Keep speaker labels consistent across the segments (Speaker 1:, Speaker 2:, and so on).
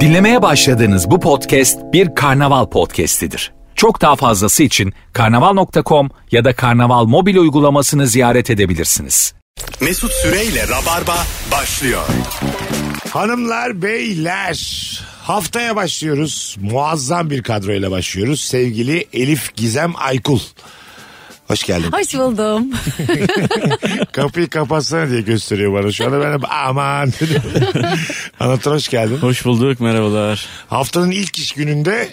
Speaker 1: Dinlemeye başladığınız bu podcast bir karnaval podcastidir. Çok daha fazlası için karnaval.com ya da karnaval mobil uygulamasını ziyaret edebilirsiniz.
Speaker 2: Mesut Süreyle Rabarba başlıyor.
Speaker 3: Hanımlar, beyler haftaya başlıyoruz. Muazzam bir kadroyla başlıyoruz. Sevgili Elif Gizem Aykul. Hoş geldin.
Speaker 4: Hoş buldum.
Speaker 3: Kapıyı kapatsana diye gösteriyor bana şu anda. Ben de aman dedim. Anlatan hoş geldin.
Speaker 5: Hoş bulduk merhabalar.
Speaker 3: Haftanın ilk iş gününde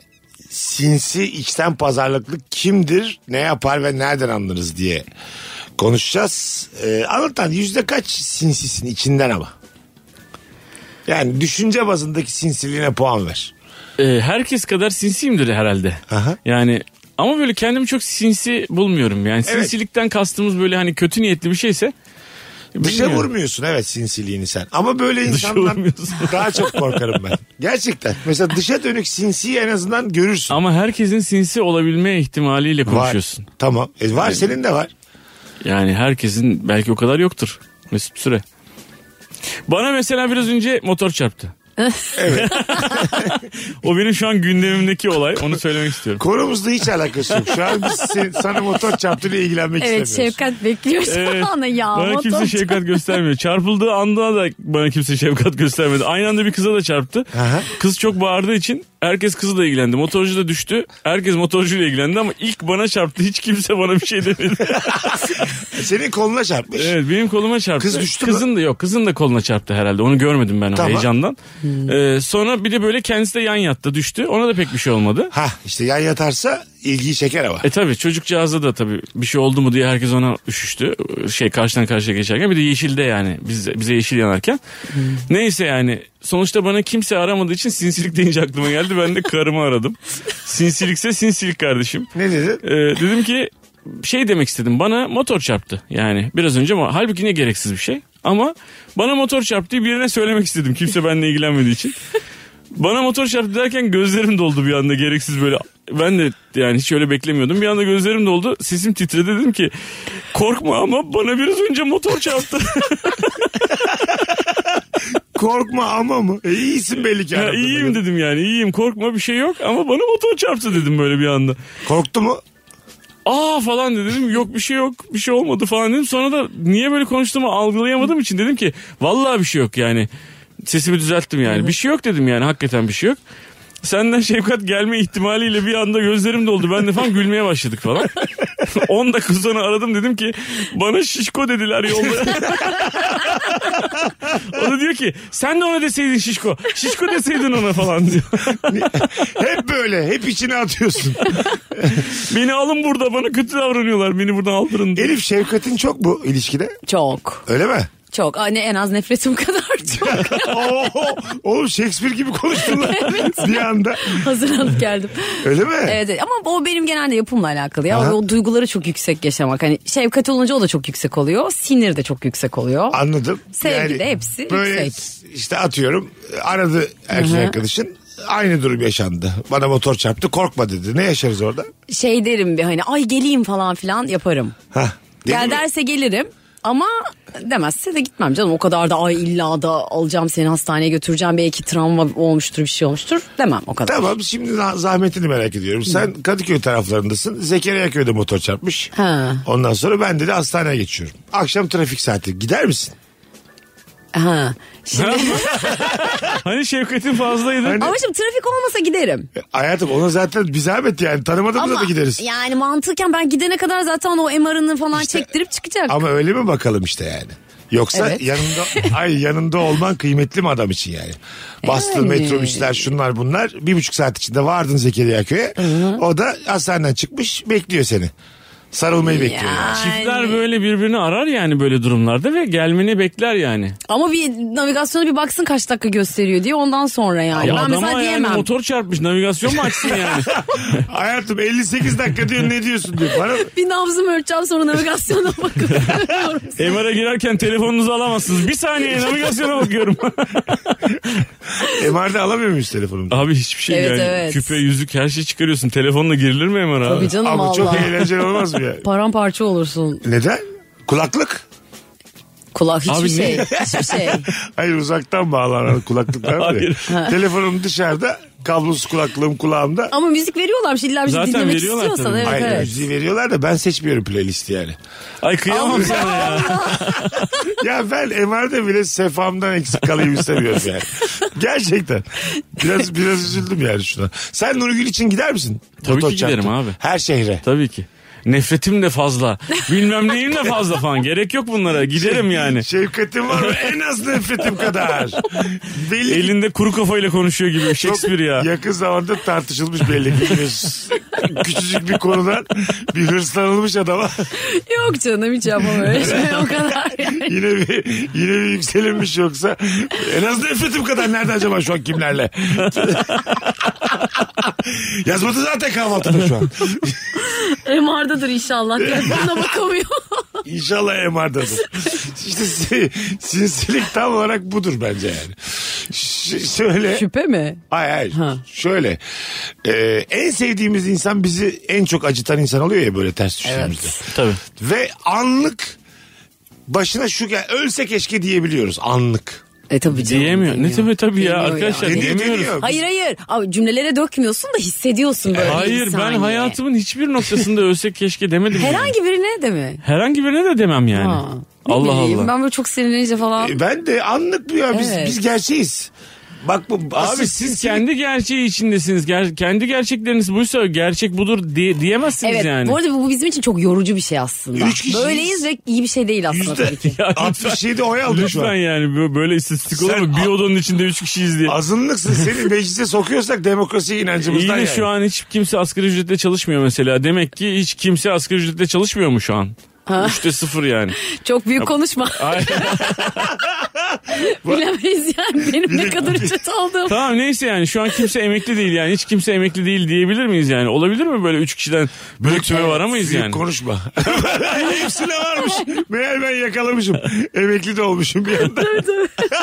Speaker 3: sinsi içten pazarlıklık kimdir, ne yapar ve nereden anlarız diye konuşacağız. Ee, anlatan yüzde kaç sinsisin içinden ama? Yani düşünce bazındaki sinsiliğine puan ver.
Speaker 5: Ee, herkes kadar sinsiyimdir herhalde.
Speaker 3: Aha.
Speaker 5: Yani ama böyle kendimi çok sinsi bulmuyorum. Yani
Speaker 3: Evet.
Speaker 5: sinsilikten kastımız böyle hani kötü niyetli bir şeyse.
Speaker 3: Dışa
Speaker 5: bilmiyorum.
Speaker 3: vurmuyorsun evet sinsiliğini sen. Ama böyle insandan
Speaker 5: vurmuyorsun.
Speaker 3: daha çok korkarım ben. Gerçekten. Mesela dışa dönük sinsiyi en azından görürsün.
Speaker 5: Ama herkesin sinsi olabilme ihtimaliyle konuşuyorsun.
Speaker 3: Var. Tamam. E, var senin de var.
Speaker 5: Yani herkesin belki o kadar yoktur. Mesut Süre. Bana mesela biraz önce motor çarptı. o benim şu an gündemimdeki olay. Onu söylemek istiyorum.
Speaker 3: Konumuzla hiç alakası yok. Şu an biz sen- sana motor çarptığıyla ilgilenmek
Speaker 4: Evet
Speaker 3: istemiyoruz.
Speaker 4: Şefkat bekliyor şu
Speaker 5: Evet.
Speaker 4: anda ya.
Speaker 5: Bana
Speaker 4: motor
Speaker 5: kimse şey- şefkat göstermiyor. Çarpıldığı anda da bana kimse şefkat göstermedi. Aynı anda bir kıza da çarptı.
Speaker 3: Aha.
Speaker 5: Kız çok bağırdığı için herkes kızla ilgilendi. Motorcu da düştü. Herkes motorcuyla ilgilendi ama ilk bana çarptı. Hiç kimse bana bir şey demedi.
Speaker 3: E, Senin koluna çarpmış.
Speaker 5: evet benim koluma çarptı.
Speaker 3: Kız düştü mü?
Speaker 5: Kızın da yok. Kızın da koluna çarptı herhalde. Onu görmedim ben o
Speaker 3: Tamam.
Speaker 5: heyecandan. Ee, sonra bir de böyle kendisi de yan yattı düştü. Ona da pek bir şey olmadı.
Speaker 3: Ha işte yan yatarsa ilgiyi çeker ama.
Speaker 5: E tabi çocukcağızda da tabi bir şey oldu mu diye herkes ona üşüştü. Şey karşıdan karşıya geçerken bir de yeşilde yani biz, bize yeşil yanarken. Neyse yani sonuçta bana kimse aramadığı için sinsilik deyince aklıma geldi. Ben de karımı aradım. Sinsilikse sinsilik kardeşim.
Speaker 3: Ne dedin?
Speaker 5: E, dedim ki şey demek istedim bana motor çarptı yani biraz önce ama halbuki ne gereksiz bir şey ama bana motor çarptı birine söylemek istedim kimse benimle ilgilenmediği için bana motor çarptı derken gözlerim doldu bir anda gereksiz böyle ben de yani hiç öyle beklemiyordum bir anda gözlerim doldu sesim titredi dedim ki korkma ama bana biraz önce motor çarptı
Speaker 3: Korkma ama mı? E, iyisin belli ki.
Speaker 5: ya,
Speaker 3: anladın
Speaker 5: iyiyim
Speaker 3: beni.
Speaker 5: dedim yani iyiyim korkma bir şey yok ama bana motor çarptı dedim böyle bir anda
Speaker 3: Korktu mu?
Speaker 5: Aa falan dedi. dedim. Yok bir şey yok. Bir şey olmadı falan dedim. Sonra da niye böyle konuştuğumu algılayamadığım için dedim ki vallahi bir şey yok yani. Sesimi düzelttim yani. Bir şey yok dedim yani hakikaten bir şey yok. Senden şefkat gelme ihtimaliyle bir anda gözlerim doldu. Ben de falan gülmeye başladık falan. 10 dakika sonra aradım dedim ki bana şişko dediler yolda. o da diyor ki sen de ona deseydin şişko. Şişko deseydin ona falan diyor.
Speaker 3: Hep böyle. Hep içine atıyorsun.
Speaker 5: Beni alın burada bana kötü davranıyorlar. Beni buradan aldırın diyor.
Speaker 3: Elif şefkatin çok mu ilişkide?
Speaker 4: Çok.
Speaker 3: Öyle mi?
Speaker 4: Çok. Anne en az nefretim kadar çok.
Speaker 3: Oo, oğlum Shakespeare gibi konuştun lan bir anda.
Speaker 4: Hazırlanıp geldim.
Speaker 3: Öyle mi?
Speaker 4: Evet, evet. ama o benim genelde yapımla alakalı ya.
Speaker 3: Aha.
Speaker 4: O duyguları çok yüksek yaşamak. Hani şefkat olunca o da çok yüksek oluyor. Sinir de çok yüksek oluyor.
Speaker 3: Anladım.
Speaker 4: Sevgi de hepsi
Speaker 3: böyle
Speaker 4: yüksek.
Speaker 3: işte atıyorum aradı erkek
Speaker 4: Hı hı.
Speaker 3: arkadaşın. Aynı durum yaşandı. Bana motor çarptı korkma dedi. Ne yaşarız orada?
Speaker 4: Şey derim bir hani ay geleyim falan filan yaparım.
Speaker 3: Hah. Değil
Speaker 4: Gel
Speaker 3: mi?
Speaker 4: derse gelirim. Ama demezse de gitmem canım. O kadar da ay illa da alacağım seni hastaneye götüreceğim. Belki travma olmuştur bir şey olmuştur. Demem o kadar.
Speaker 3: Tamam şimdi za- zahmetini merak ediyorum. Sen Kadıköy taraflarındasın. Zekeriya köyde motor çarpmış.
Speaker 4: Ha.
Speaker 3: Ondan sonra ben dedi hastaneye geçiyorum. Akşam trafik saati gider misin?
Speaker 4: Ha. Şimdi...
Speaker 5: Hani şefkatin fazlaydı.
Speaker 3: Hani-
Speaker 4: Ama şimdi trafik olmasa giderim.
Speaker 3: E, Hayatım ona zaten bir zahmet yani tanımadığımızda
Speaker 4: Ama
Speaker 3: da gideriz.
Speaker 4: yani mantıken ben gidene kadar zaten o MR'ını falan
Speaker 3: İşte-
Speaker 4: çektirip çıkacak.
Speaker 3: Ama öyle mi bakalım işte yani? Yoksa
Speaker 4: Evet.
Speaker 3: yanında ay yanında olman kıymetli mi adam için yani? Bastın
Speaker 4: Yani.
Speaker 3: metrobüsler şunlar bunlar bir buçuk saat içinde vardın Zekeriya köye. O da hastaneden çıkmış bekliyor seni. Sarılmayı bekliyor. yani.
Speaker 5: Çiftler böyle birbirini arar yani böyle durumlarda ve gelmeni bekler yani.
Speaker 4: Ama bir navigasyona bir baksın kaç dakika gösteriyor diye ondan sonra yani.
Speaker 5: Ya
Speaker 4: ben
Speaker 5: adama
Speaker 4: mesela
Speaker 5: yani
Speaker 4: diyemem.
Speaker 5: motor çarpmış navigasyon mu açsın yani?
Speaker 3: Hayatım 58 dakika diyor ne diyorsun diyor. Bana
Speaker 4: Bir nabzımı ölçeceğim sonra navigasyona bakıp.
Speaker 5: MR'a girerken telefonunuzu alamazsınız. Bir saniye navigasyona bakıyorum.
Speaker 3: MR'de alamıyor muyuz telefonumu?
Speaker 5: abi hiçbir şey
Speaker 4: Evet,
Speaker 5: yani.
Speaker 4: evet.
Speaker 5: Küpe, yüzük her şey çıkarıyorsun. Telefonla girilir mi MR'a abi?
Speaker 4: Tabii canım
Speaker 3: Ama çok
Speaker 4: valla.
Speaker 3: eğlenceli olmaz mı ya?
Speaker 4: Paramparça olursun.
Speaker 3: Neden? Kulaklık?
Speaker 4: Kulağı hiçbir
Speaker 5: Abi
Speaker 4: şey.
Speaker 5: ne?
Speaker 4: Hiçbir şey.
Speaker 3: Hayır uzaktan bağlanan kulaklıklar var ya.
Speaker 5: Hayır.
Speaker 3: Telefonum dışarıda. Kablosuz kulaklığım kulağımda.
Speaker 4: Ama müzik veriyorlarmış. İlla müzik
Speaker 5: Zaten
Speaker 4: dinlemek
Speaker 5: veriyorlar
Speaker 4: istiyorsan.
Speaker 5: tabii.
Speaker 4: Evet,
Speaker 3: Hayır
Speaker 4: evet.
Speaker 3: müziği veriyorlar da ben seçmiyorum playlisti yani.
Speaker 5: Ay kıyamam sana ya.
Speaker 3: ya ben MR'de bile sefamdan eksik kalayım istemiyorum yani. Gerçekten. Biraz biraz üzüldüm yani şuna. Sen Nurgül için gider misin?
Speaker 5: Tabii ki
Speaker 3: Fotoğraf
Speaker 5: giderim
Speaker 3: çarptın.
Speaker 5: abi.
Speaker 3: Her şehre.
Speaker 5: Tabii ki. Nefretim de fazla. Bilmem neyim de fazla falan. Gerek yok bunlara. Giderim yani.
Speaker 3: Şefkatim var mı? en az nefretim kadar. Belli ki
Speaker 5: Elinde kuru kafayla konuşuyor gibi
Speaker 3: çok
Speaker 5: Shakespeare ya.
Speaker 3: Yakın zamanda tartışılmış belli ki. bir- Küçücük bir konudan bir hırslanılmış adama
Speaker 4: Yok canım hiç yapamam öyle şey o kadar. yani.
Speaker 3: yine bir, yine bir yükselinmiş yoksa en az nefretim kadar nerede acaba şu an kimlerle? Yazmadı zaten kahvaltıda şu an.
Speaker 4: MR'dadır inşallah. Telefonuna bakamıyor.
Speaker 3: İnşallah MR'dadır. İşte si- sinsilik tam olarak budur bence yani. Ş- şöyle.
Speaker 4: Şüphe mi?
Speaker 3: Hayır hayır. Şöyle. Ee, en sevdiğimiz insan bizi en çok acıtan insan oluyor ya böyle ters düştüğümüzde.
Speaker 5: Tabii.
Speaker 3: Ve anlık başına şu gel ölse keşke diyebiliyoruz anlık.
Speaker 4: E tabii canım.
Speaker 5: Diyemiyor. Ne
Speaker 4: diyemiyor.
Speaker 5: tabii tabii ya
Speaker 4: Diyemiyor
Speaker 5: arkadaşlar.
Speaker 3: Deniyor,
Speaker 5: Diyemiyoruz.
Speaker 3: deniyor.
Speaker 4: Hayır hayır. Abi, cümlelere dökmüyorsun da hissediyorsun böyle. bir
Speaker 5: Hayır ben
Speaker 4: saniye.
Speaker 5: hayatımın hiçbir noktasında ölsek keşke demedim. yani.
Speaker 4: Herhangi birine de mi?
Speaker 5: Herhangi birine de demem yani.
Speaker 4: Ha. Ne
Speaker 5: Allah
Speaker 4: bileyim,
Speaker 5: Allah.
Speaker 4: Ben böyle çok sinirlenince falan.
Speaker 3: E, Ben de anlık bu ya biz,
Speaker 4: Evet.
Speaker 3: biz gerçeğiz. Bak bu
Speaker 5: Abi siz, kendi gerçeği içindesiniz. Ger- kendi gerçekleriniz buysa gerçek budur diye- diyemezsiniz
Speaker 4: Evet
Speaker 5: yani.
Speaker 4: bu arada bu bizim için çok yorucu bir şey aslında.
Speaker 3: Üç kişiyiz.
Speaker 4: Böyleyiz ve iyi bir şey değil aslında
Speaker 3: yüzde
Speaker 4: tabii ki.
Speaker 3: 67 oy aldı şu
Speaker 5: Lütfen
Speaker 3: an.
Speaker 5: yani bö- böyle istatistik olur mu?
Speaker 3: Sen-
Speaker 5: Bir odanın içinde üç kişiyiz diye.
Speaker 3: Azınlıksın seni meclise sokuyorsak demokrasi
Speaker 5: İyi de
Speaker 3: inancımızdan yani.
Speaker 5: şu an hiç kimse asgari ücretle çalışmıyor mesela. Demek ki hiç kimse asgari ücretle çalışmıyor mu şu an? Üçte sıfır yani.
Speaker 4: Çok büyük konuşma.
Speaker 5: Ay,
Speaker 4: Bilemeyiz yani benim ne
Speaker 3: Bilemeyiz.
Speaker 4: kadar ücret aldığım.
Speaker 5: tamam neyse yani şu an kimse emekli değil yani. Hiç kimse emekli değil diyebilir miyiz yani? Olabilir mi böyle üç kişiden böyle tüme varamayız
Speaker 3: Büyük
Speaker 5: yani?
Speaker 3: konuşma. Hepsine varmış. Meğer ben yakalamışım. Emekli de olmuşum bir anda.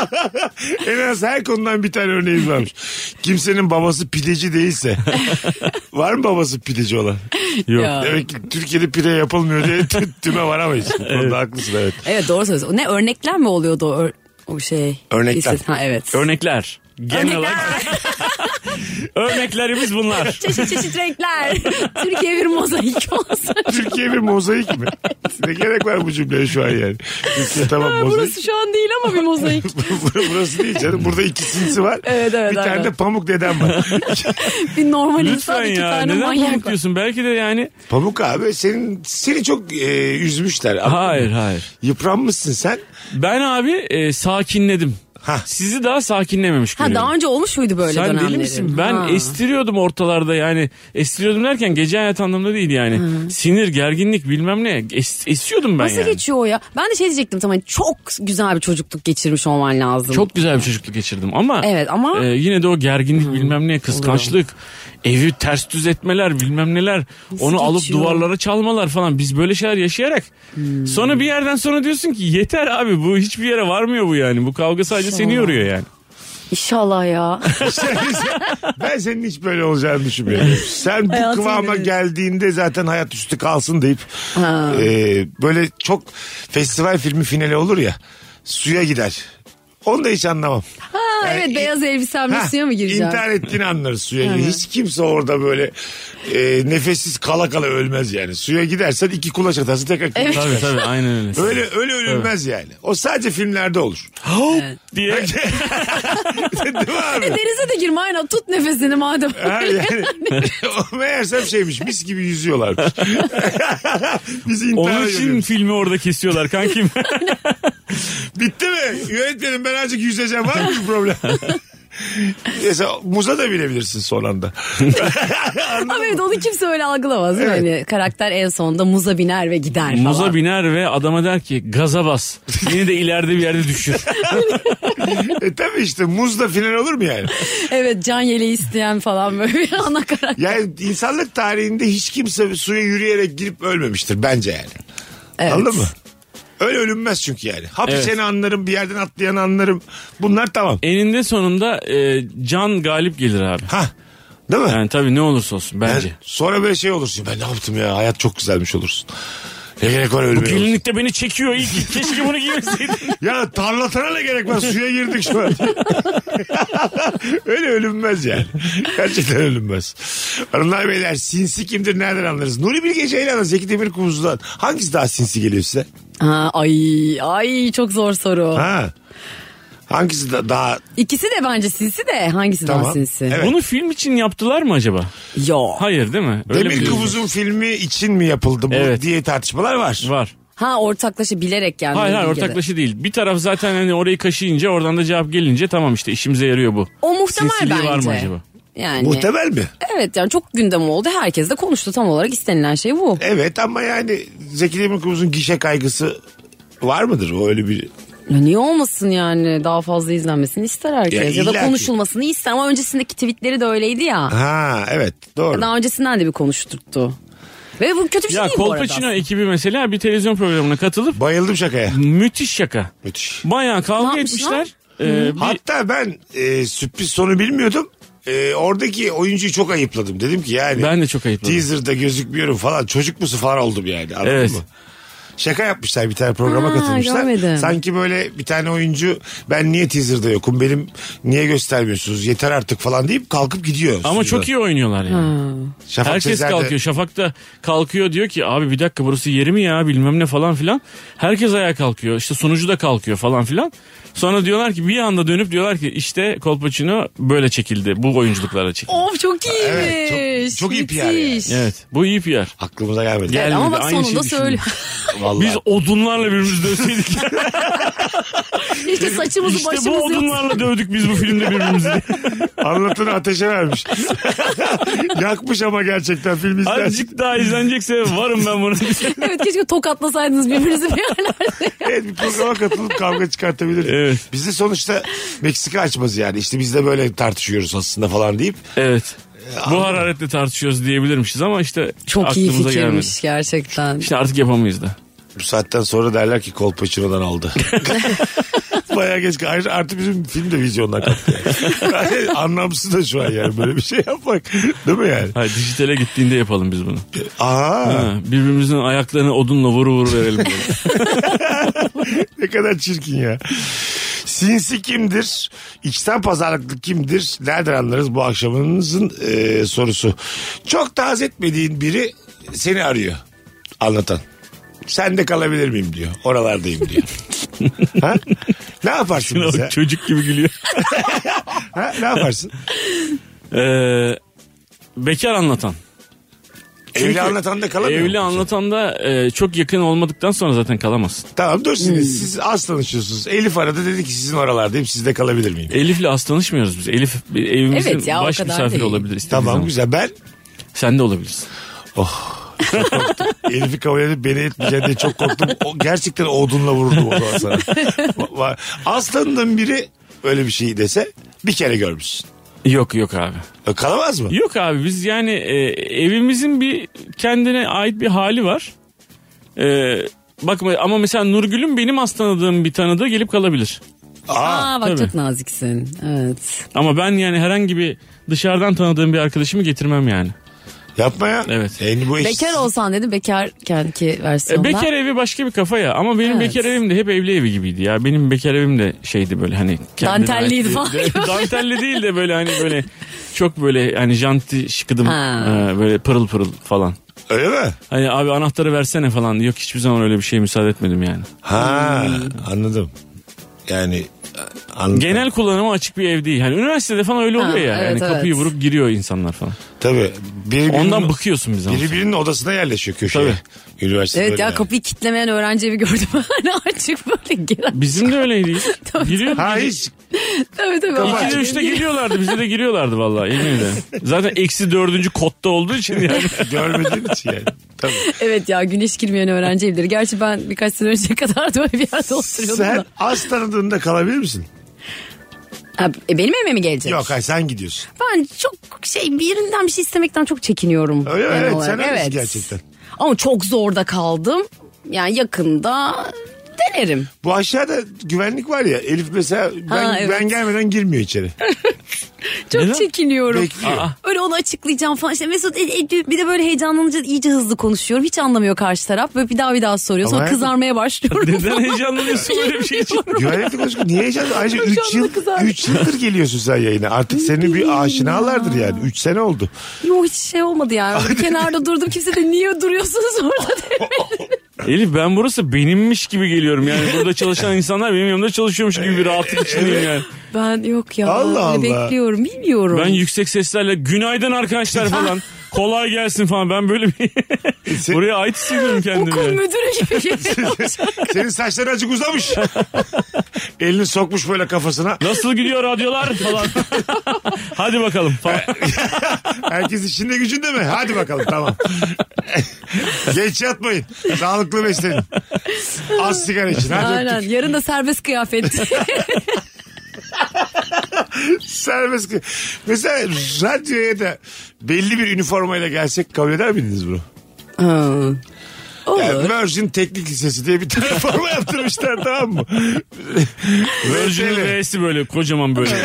Speaker 3: en az her konudan bir tane örneğimiz varmış. Kimsenin babası pideci değilse. var mı babası pideci olan?
Speaker 5: Yok.
Speaker 4: Ya.
Speaker 3: Demek ki Türkiye'de pide yapılmıyor diye tü- tüme varamayız. Bu konuda haklısın evet.
Speaker 4: Evet doğru söylüyorsun. Ne örneklem mi oluyordu o, ör- o şey?
Speaker 3: Örneklem.
Speaker 4: İstis- Ha, evet.
Speaker 5: Örnekler. Genel olarak
Speaker 4: Örnekler.
Speaker 5: örneklerimiz bunlar.
Speaker 4: çeşit çeşit renkler. Türkiye bir mozaik olsun.
Speaker 3: Türkiye bir mozaik mi? ne gerek var bu cümleye şu an yani? Türkiye tamam mozaik.
Speaker 4: Burası şu an değil ama bir mozaik.
Speaker 3: Burası, değil canım. Burada iki sinsi var.
Speaker 4: Evet, evet,
Speaker 3: bir tane
Speaker 4: aynen.
Speaker 3: de pamuk dedem var.
Speaker 4: bir normal insan
Speaker 5: Lütfen
Speaker 4: iki
Speaker 5: ya.
Speaker 4: tane
Speaker 5: Neden
Speaker 4: manyak
Speaker 5: pamuk
Speaker 4: var.
Speaker 5: diyorsun? Belki de yani.
Speaker 3: Pamuk abi senin seni çok e, üzmüşler. Anladın mı?
Speaker 5: Hayır hayır.
Speaker 3: Yıpranmışsın sen.
Speaker 5: Ben abi e, sakinledim.
Speaker 3: Hah.
Speaker 5: Sizi daha sakinlememiş
Speaker 4: Ha
Speaker 5: görüyorum.
Speaker 4: daha önce olmuş muydu böyle
Speaker 5: Sen
Speaker 4: dönemlerin?
Speaker 5: deli misin? Ben
Speaker 4: Ha.
Speaker 5: estiriyordum ortalarda yani. Estiriyordum derken gece hayat anlamında değil yani. Sinir, gerginlik bilmem ne. Es- esiyordum ben
Speaker 4: Nasıl
Speaker 5: yani.
Speaker 4: geçiyor o ya? Ben de şey diyecektim tamam çok güzel bir çocukluk geçirmiş olman lazım.
Speaker 5: Çok güzel bir çocukluk geçirdim ama
Speaker 4: Evet, ama-
Speaker 5: e, yine de o gerginlik bilmem ne kıskançlık evi ters düz etmeler bilmem neler
Speaker 4: Nasıl
Speaker 5: onu alıp
Speaker 4: geçiyor? Hmm.
Speaker 5: duvarlara çalmalar falan biz böyle şeyler yaşayarak sonra bir yerden sonra diyorsun ki yeter abi bu hiçbir yere varmıyor bu yani bu kavga sadece seni
Speaker 4: İnşallah.
Speaker 5: yoruyor yani.
Speaker 4: İnşallah ya.
Speaker 3: ben senin hiç böyle olacağını düşünmüyorum. Sen bu
Speaker 4: Hayatım
Speaker 3: kıvama
Speaker 4: benim.
Speaker 3: geldiğinde zaten hayat üstü kalsın deyip e, böyle çok festival filmi finali olur ya suya gider. Onu da hiç anlamam.
Speaker 4: Ha,
Speaker 3: Yani
Speaker 4: evet
Speaker 3: in-
Speaker 4: beyaz elbisemle
Speaker 3: Ha,
Speaker 4: suya mı gireceğim?
Speaker 3: İntihar ettiğini anlarız suya. Hiç kimse orada böyle e, nefessiz kala kala ölmez yani. Suya gidersen iki kulaç atarsın tekrar kulaç
Speaker 5: Tabii tabii aynen öyle.
Speaker 3: Öyle öyle ölünmez yani. O sadece filmlerde olur.
Speaker 5: diye
Speaker 3: Değil mi abi?
Speaker 4: E, denize de girme aynen tut nefesini madem.
Speaker 3: Ha, yani, o meğersem şeymiş mis gibi yüzüyorlarmış. Bizi intihar
Speaker 5: onun için
Speaker 3: ediyoruz.
Speaker 5: filmi orada kesiyorlar kankim.
Speaker 3: Bitti mi? Yönetmenim ben azıcık yüzeceğim var mı bir problem? Mesela muza da binebilirsin son anda.
Speaker 4: Ama evet onu kimse öyle algılamaz. değil mi?
Speaker 3: Evet.
Speaker 4: Yani karakter en sonunda muza biner ve gider falan.
Speaker 5: Muza biner ve adama der ki gaza bas. Beni de ileride bir yerde düşür.
Speaker 3: e tabii işte muz da final olur mu yani?
Speaker 4: Evet can yeleği isteyen falan böyle bir ana karakter.
Speaker 3: Yani insanlık tarihinde hiç kimse suya yürüyerek girip ölmemiştir bence yani.
Speaker 4: Evet.
Speaker 3: Anladın mı? Öyle ölünmez çünkü yani. Hapşeni
Speaker 5: Evet.
Speaker 3: anlarım, bir yerden atlayan anlarım. Bunlar tamam.
Speaker 5: Eninde sonunda e, can galip gelir abi.
Speaker 3: Ha. Değil mi?
Speaker 5: Yani tabii ne olursa olsun bence.
Speaker 3: Yani sonra böyle şey olursun. Ben ne yaptım ya? Hayat çok güzelmiş olursun. Ne gerek var öyle
Speaker 5: Bu
Speaker 3: bir-
Speaker 5: gelinlikte beni çekiyor. İyi ki keşke bunu giymeseydin.
Speaker 3: Ya tarlatana ne gerek var suya girdik şu an. Öyle ölünmez yani. Gerçekten ölünmez. Hanımlar beyler sinsi kimdir nereden anlarız? Nuri Bilge Ceylan'la Zeki Demir Kubuz'dan hangisi daha sinsi geliyor size?
Speaker 4: Ha, ay ay çok zor soru.
Speaker 3: Ha? Hangisi da, daha
Speaker 4: İkisi de bence sinsi de hangisi
Speaker 3: Tamam.
Speaker 4: daha sinsi?
Speaker 3: Evet.
Speaker 5: Bunu film için yaptılar mı acaba?
Speaker 4: Yo.
Speaker 5: Hayır değil mi? Öyle bir
Speaker 3: Demir Kubuz'un filmi için mi yapıldı bu
Speaker 5: Evet.
Speaker 3: diye tartışmalar var.
Speaker 5: var.
Speaker 4: Ha ortaklaşa bilerek geldi.
Speaker 5: Hayır hayır
Speaker 4: Bilge'de.
Speaker 5: ortaklaşa değil. Bir taraf zaten hani orayı kaşıyınca oradan da cevap gelince tamam işte işimize yarıyor bu.
Speaker 4: O muhtemel
Speaker 5: Sinsiliği
Speaker 4: bence.
Speaker 5: var mı acaba?
Speaker 4: Yani.
Speaker 3: Muhtemel mi?
Speaker 4: Evet yani çok gündem oldu. Herkes de konuştu tam olarak istenilen şey bu.
Speaker 3: Evet ama yani Zeki Demir Kubuz'un gişe kaygısı var mıdır? O öyle bir
Speaker 4: Ya niye olmasın yani daha fazla izlenmesini ister
Speaker 3: Ya
Speaker 4: herkes. Ya,
Speaker 3: illa
Speaker 4: da
Speaker 3: ki.
Speaker 4: konuşulmasını ister ama öncesindeki tweetleri de öyleydi ya.
Speaker 3: Ha evet doğru.
Speaker 4: Daha öncesinden de bir konuşturttu. Ve bu kötü bir şey
Speaker 5: Ya
Speaker 4: değil bu arada.
Speaker 5: Kolpaçino ekibi mesela bir televizyon programına katılıp
Speaker 3: Bayıldım şakaya.
Speaker 5: müthiş şaka.
Speaker 3: Müthiş.
Speaker 5: Bayağı kavga
Speaker 4: Ne yapmışlar?
Speaker 5: etmişler. Ee, bir-
Speaker 3: Hatta ben e, sürpriz sonu bilmiyordum. E, oradaki oyuncuyu çok ayıpladım. Dedim ki yani.
Speaker 5: Ben de çok ayıpladım.
Speaker 3: Teaser'da gözükmüyorum falan. Çocuk musu falan oldum yani. Anladın
Speaker 5: Evet.
Speaker 3: mı? Şaka yapmışlar bir tane programa
Speaker 4: Ha,
Speaker 3: katılmışlar.
Speaker 4: görmedim.
Speaker 3: Sanki böyle bir tane oyuncu ben niye teaser'da yokum benim niye göstermiyorsunuz yeter artık falan deyip kalkıp gidiyor.
Speaker 5: ama çok iyi oynuyorlar yani.
Speaker 3: Şafak
Speaker 5: Herkes
Speaker 3: Sezer de-
Speaker 5: kalkıyor. Şafak da kalkıyor diyor ki abi bir dakika burası yeri mi ya bilmem ne falan filan. Herkes ayağa kalkıyor. İşte sunucu da kalkıyor falan filan. Sonra diyorlar ki bir anda dönüp diyorlar ki işte Kolpaçino böyle çekildi. Bu oyunculuklara çekildi.
Speaker 4: Of çok iyiymiş.
Speaker 3: Evet, çok- çok iyi PR yani.
Speaker 4: Müthiş.
Speaker 5: Evet bu iyi PR.
Speaker 3: Aklımıza gelmedi.
Speaker 5: Gel-
Speaker 4: Ama
Speaker 5: Gelmedi,
Speaker 4: bak
Speaker 5: aynı
Speaker 4: sonunda
Speaker 5: şeyi
Speaker 4: söyle.
Speaker 3: Vallahi.
Speaker 5: Biz odunlarla birbirimizi dövseydik.
Speaker 4: işte saçımızı
Speaker 5: işte bu
Speaker 4: başımızı.
Speaker 5: odunlarla dövdük biz bu filmde birbirimizi.
Speaker 3: Anlatını ateşe vermiş. Yakmış ama gerçekten film izlersin.
Speaker 5: Azıcık daha izlenecekse varım ben bunu.
Speaker 4: evet keşke tokatlasaydınız birbirinizi bir yerlerde.
Speaker 3: Evet bir programa katılıp kavga çıkartabilir.
Speaker 5: Evet.
Speaker 3: Biz de sonuçta Meksika açmaz yani. İşte biz de böyle tartışıyoruz aslında falan deyip.
Speaker 5: evet. Bu hararetle tartışıyoruz diyebilirmişiz ama işte
Speaker 4: Çok iyi
Speaker 5: aklımıza
Speaker 4: fikirmiş
Speaker 5: gelmedi.
Speaker 4: gerçekten.
Speaker 5: İşte artık yapamayız da.
Speaker 3: Bu saatten sonra derler ki Kolpaçino'dan aldı. Bayağı geç. Ayrıca artı bizim film de vizyondan kalktı. Yani. Anlamsız da şu an yani böyle bir şey yapmak. Değil mi yani?
Speaker 5: Hayır dijitale gittiğinde yapalım biz bunu.
Speaker 3: Aa,
Speaker 5: Ha, birbirimizin ayaklarını odunla vuru vuru verelim. böyle.
Speaker 3: ne kadar çirkin ya. Sinsi kimdir? İçten pazarlıklı kimdir? Nereden anlarız bu akşamınızın e, sorusu. Çok taz etmediğin biri seni arıyor. Anlatan. Sen de kalabilir miyim diyor. Oralardayım diyor. ha? Ne yaparsın bize?
Speaker 5: Çocuk gibi gülüyor.
Speaker 3: Ha? Ne yaparsın?
Speaker 5: Ee, bekar anlatan.
Speaker 3: evli anlatan da kalamıyor.
Speaker 5: Evli anlatan da e, çok yakın olmadıktan sonra zaten kalamazsın.
Speaker 3: Tamam dur
Speaker 5: Hmm.
Speaker 3: şimdi siz az tanışıyorsunuz. Elif aradı dedi ki sizin oralardayım sizde kalabilir miyim?
Speaker 5: Elif'le az tanışmıyoruz biz. Elif bir evimizin
Speaker 4: Evet ya, o
Speaker 5: baş
Speaker 4: kadar
Speaker 5: misafiri
Speaker 4: değil.
Speaker 5: olabilir. istediği
Speaker 3: Tamam
Speaker 5: zaman.
Speaker 3: güzel ben
Speaker 5: Sen de olabilirsin.
Speaker 3: Elif'i kabul edip beni etmeyeceğini diye çok korktum. O, gerçekten odunla vururdum o zaman sana. Va- va- Az tanıdığın biri öyle bir şey dese bir kere görmüşsün.
Speaker 5: Yok yok abi.
Speaker 3: E, Kalamaz mı?
Speaker 5: Yok abi biz yani e, evimizin bir kendine ait bir hali var. E, bakma ama mesela Nurgül'ün benim az tanıdığım bir tanıdığı gelip kalabilir.
Speaker 3: Aa,
Speaker 4: Aa bak
Speaker 5: tabii.
Speaker 4: çok naziksin. Evet.
Speaker 5: Ama ben yani herhangi bir dışarıdan tanıdığım bir arkadaşımı getirmem yani.
Speaker 3: yapma ya.
Speaker 5: Evet.
Speaker 3: Yani bu iş-
Speaker 4: Bekar olsan dedim bekarkenki
Speaker 5: E,
Speaker 4: versiyonda.
Speaker 5: bekar evi başka bir kafa ya ama benim
Speaker 4: Evet.
Speaker 5: bekar evim de hep evli evi gibiydi ya. Benim bekar evim de şeydi böyle hani kendine
Speaker 4: Dantelliydi
Speaker 5: ait-
Speaker 4: falan.
Speaker 5: de- Dantelli değil de böyle hani böyle çok böyle hani janti şıkıdım
Speaker 4: Ha.
Speaker 5: e, böyle pırıl pırıl falan.
Speaker 3: Öyle mi?
Speaker 5: Hani abi anahtarı versene falan. Yok hiçbir zaman öyle bir şeye müsaade etmedim yani.
Speaker 3: Ha anladım. Yani anladım.
Speaker 5: Hmm. Genel kullanıma açık bir ev değil. Hani üniversitede falan öyle oluyor
Speaker 4: Ha,
Speaker 5: ya.
Speaker 4: evet,
Speaker 5: yani kapıyı
Speaker 4: evet.
Speaker 5: vurup giriyor insanlar falan.
Speaker 3: Tabii. Birbirinin-
Speaker 5: Ondan bıkıyorsun bir zaman.
Speaker 3: Biri birinin odasına yerleşiyor köşeye. Üniversite
Speaker 4: Evet
Speaker 3: böyle
Speaker 4: ya
Speaker 3: yani.
Speaker 4: kapıyı kitlemeyen öğrenci evi gördüm. Hani açık böyle giren.
Speaker 5: Bizim de öyleydi. Giriyor.
Speaker 3: Ha hiç
Speaker 4: Tabii tabii.
Speaker 3: Kapı
Speaker 4: Açık
Speaker 5: İkide
Speaker 3: açık.
Speaker 4: ev
Speaker 5: üçte
Speaker 4: giriyor.
Speaker 5: giriyorlardı. Bize de giriyorlardı vallahi. Yemin ederim. Zaten eksi dördüncü kotta olduğu için yani.
Speaker 3: görmediğin için yani. Tabii.
Speaker 4: Evet ya güneş girmeyen öğrenci evleri. Gerçi ben birkaç sene önceye kadar da öyle bir yerde oturuyordum
Speaker 3: Sen
Speaker 4: da.
Speaker 3: az tanıdığında kalabilir misin?
Speaker 4: Ha, e, benim evime mi gelecek?
Speaker 3: Yok hayır sen gidiyorsun.
Speaker 4: Ben çok şey birinden bir şey istemekten çok çekiniyorum.
Speaker 3: Öyle mi?
Speaker 4: genel
Speaker 3: Evet,
Speaker 4: olarak.
Speaker 3: sen öylesin gerçekten.
Speaker 4: Ama çok zorda kaldım. Yani yakında denerim.
Speaker 3: Bu aşağıda güvenlik var ya Elif mesela ben,
Speaker 4: Ha, evet.
Speaker 3: ben gelmeden girmiyor içeri.
Speaker 4: Çok
Speaker 5: Neden?
Speaker 4: çekiniyorum.
Speaker 3: Bekliyor.
Speaker 5: Aa.
Speaker 4: Öyle onu açıklayacağım falan işte Mesut e, e, bir de böyle heyecanlanınca iyice hızlı konuşuyorum. Hiç anlamıyor karşı taraf. Böyle bir daha bir daha soruyor.
Speaker 3: Ama
Speaker 4: Sonra
Speaker 3: hayatım-
Speaker 4: kızarmaya başlıyorum.
Speaker 5: Neden heyecanlanıyorsun böyle bir şey için?
Speaker 3: Güvenlikle konuşuyor. Niye heyecanlı? Ayrıca
Speaker 4: Çok
Speaker 3: 3 yıl,
Speaker 4: canlı kızar.
Speaker 3: üç yıldır geliyorsun sen yayına. Artık seni bir aşinalardır yani. 3 sene oldu.
Speaker 4: Yok hiç şey olmadı yani. Bir kenarda durdum kimse de niye duruyorsunuz orada diye.
Speaker 5: Elif ben burası benimmiş gibi geliyorum yani. Burada çalışan insanlar benim yanımda çalışıyormuş gibi bir rahatlık içindeyim yani.
Speaker 4: Ben yok ya.
Speaker 3: Allah
Speaker 4: öyle
Speaker 3: Allah.
Speaker 4: Bekliyorum bilmiyorum.
Speaker 5: Ben yüksek seslerle günaydın arkadaşlar falan. Kolay gelsin falan. Ben böyle bir...
Speaker 3: Sen-
Speaker 5: Buraya ait hissediyorum kendimi.
Speaker 4: Okul
Speaker 5: yani.
Speaker 4: müdürü gibi şey geliyorum.
Speaker 3: Senin saçların azıcık uzamış. Elini sokmuş böyle kafasına.
Speaker 5: Nasıl gidiyor radyolar falan. Hadi bakalım falan.
Speaker 3: Herkes içinde gücünde mi? Hadi bakalım tamam. Geç yatmayın. Sağlıklı beslenin. Az sigara için. Hadi
Speaker 4: Aynen.
Speaker 3: öptük.
Speaker 4: Yarın da serbest kıyafet.
Speaker 3: Serbest. kı- Mesela radyoya da belli bir üniformayla gelsek kabul eder miydiniz bunu? Yani
Speaker 4: Olur.
Speaker 3: Virgin Teknik Lisesi diye bir tane forma yaptırmışlar tamam mı? e,
Speaker 5: Virgin'in
Speaker 3: VTL.
Speaker 5: V'si böyle kocaman böyle.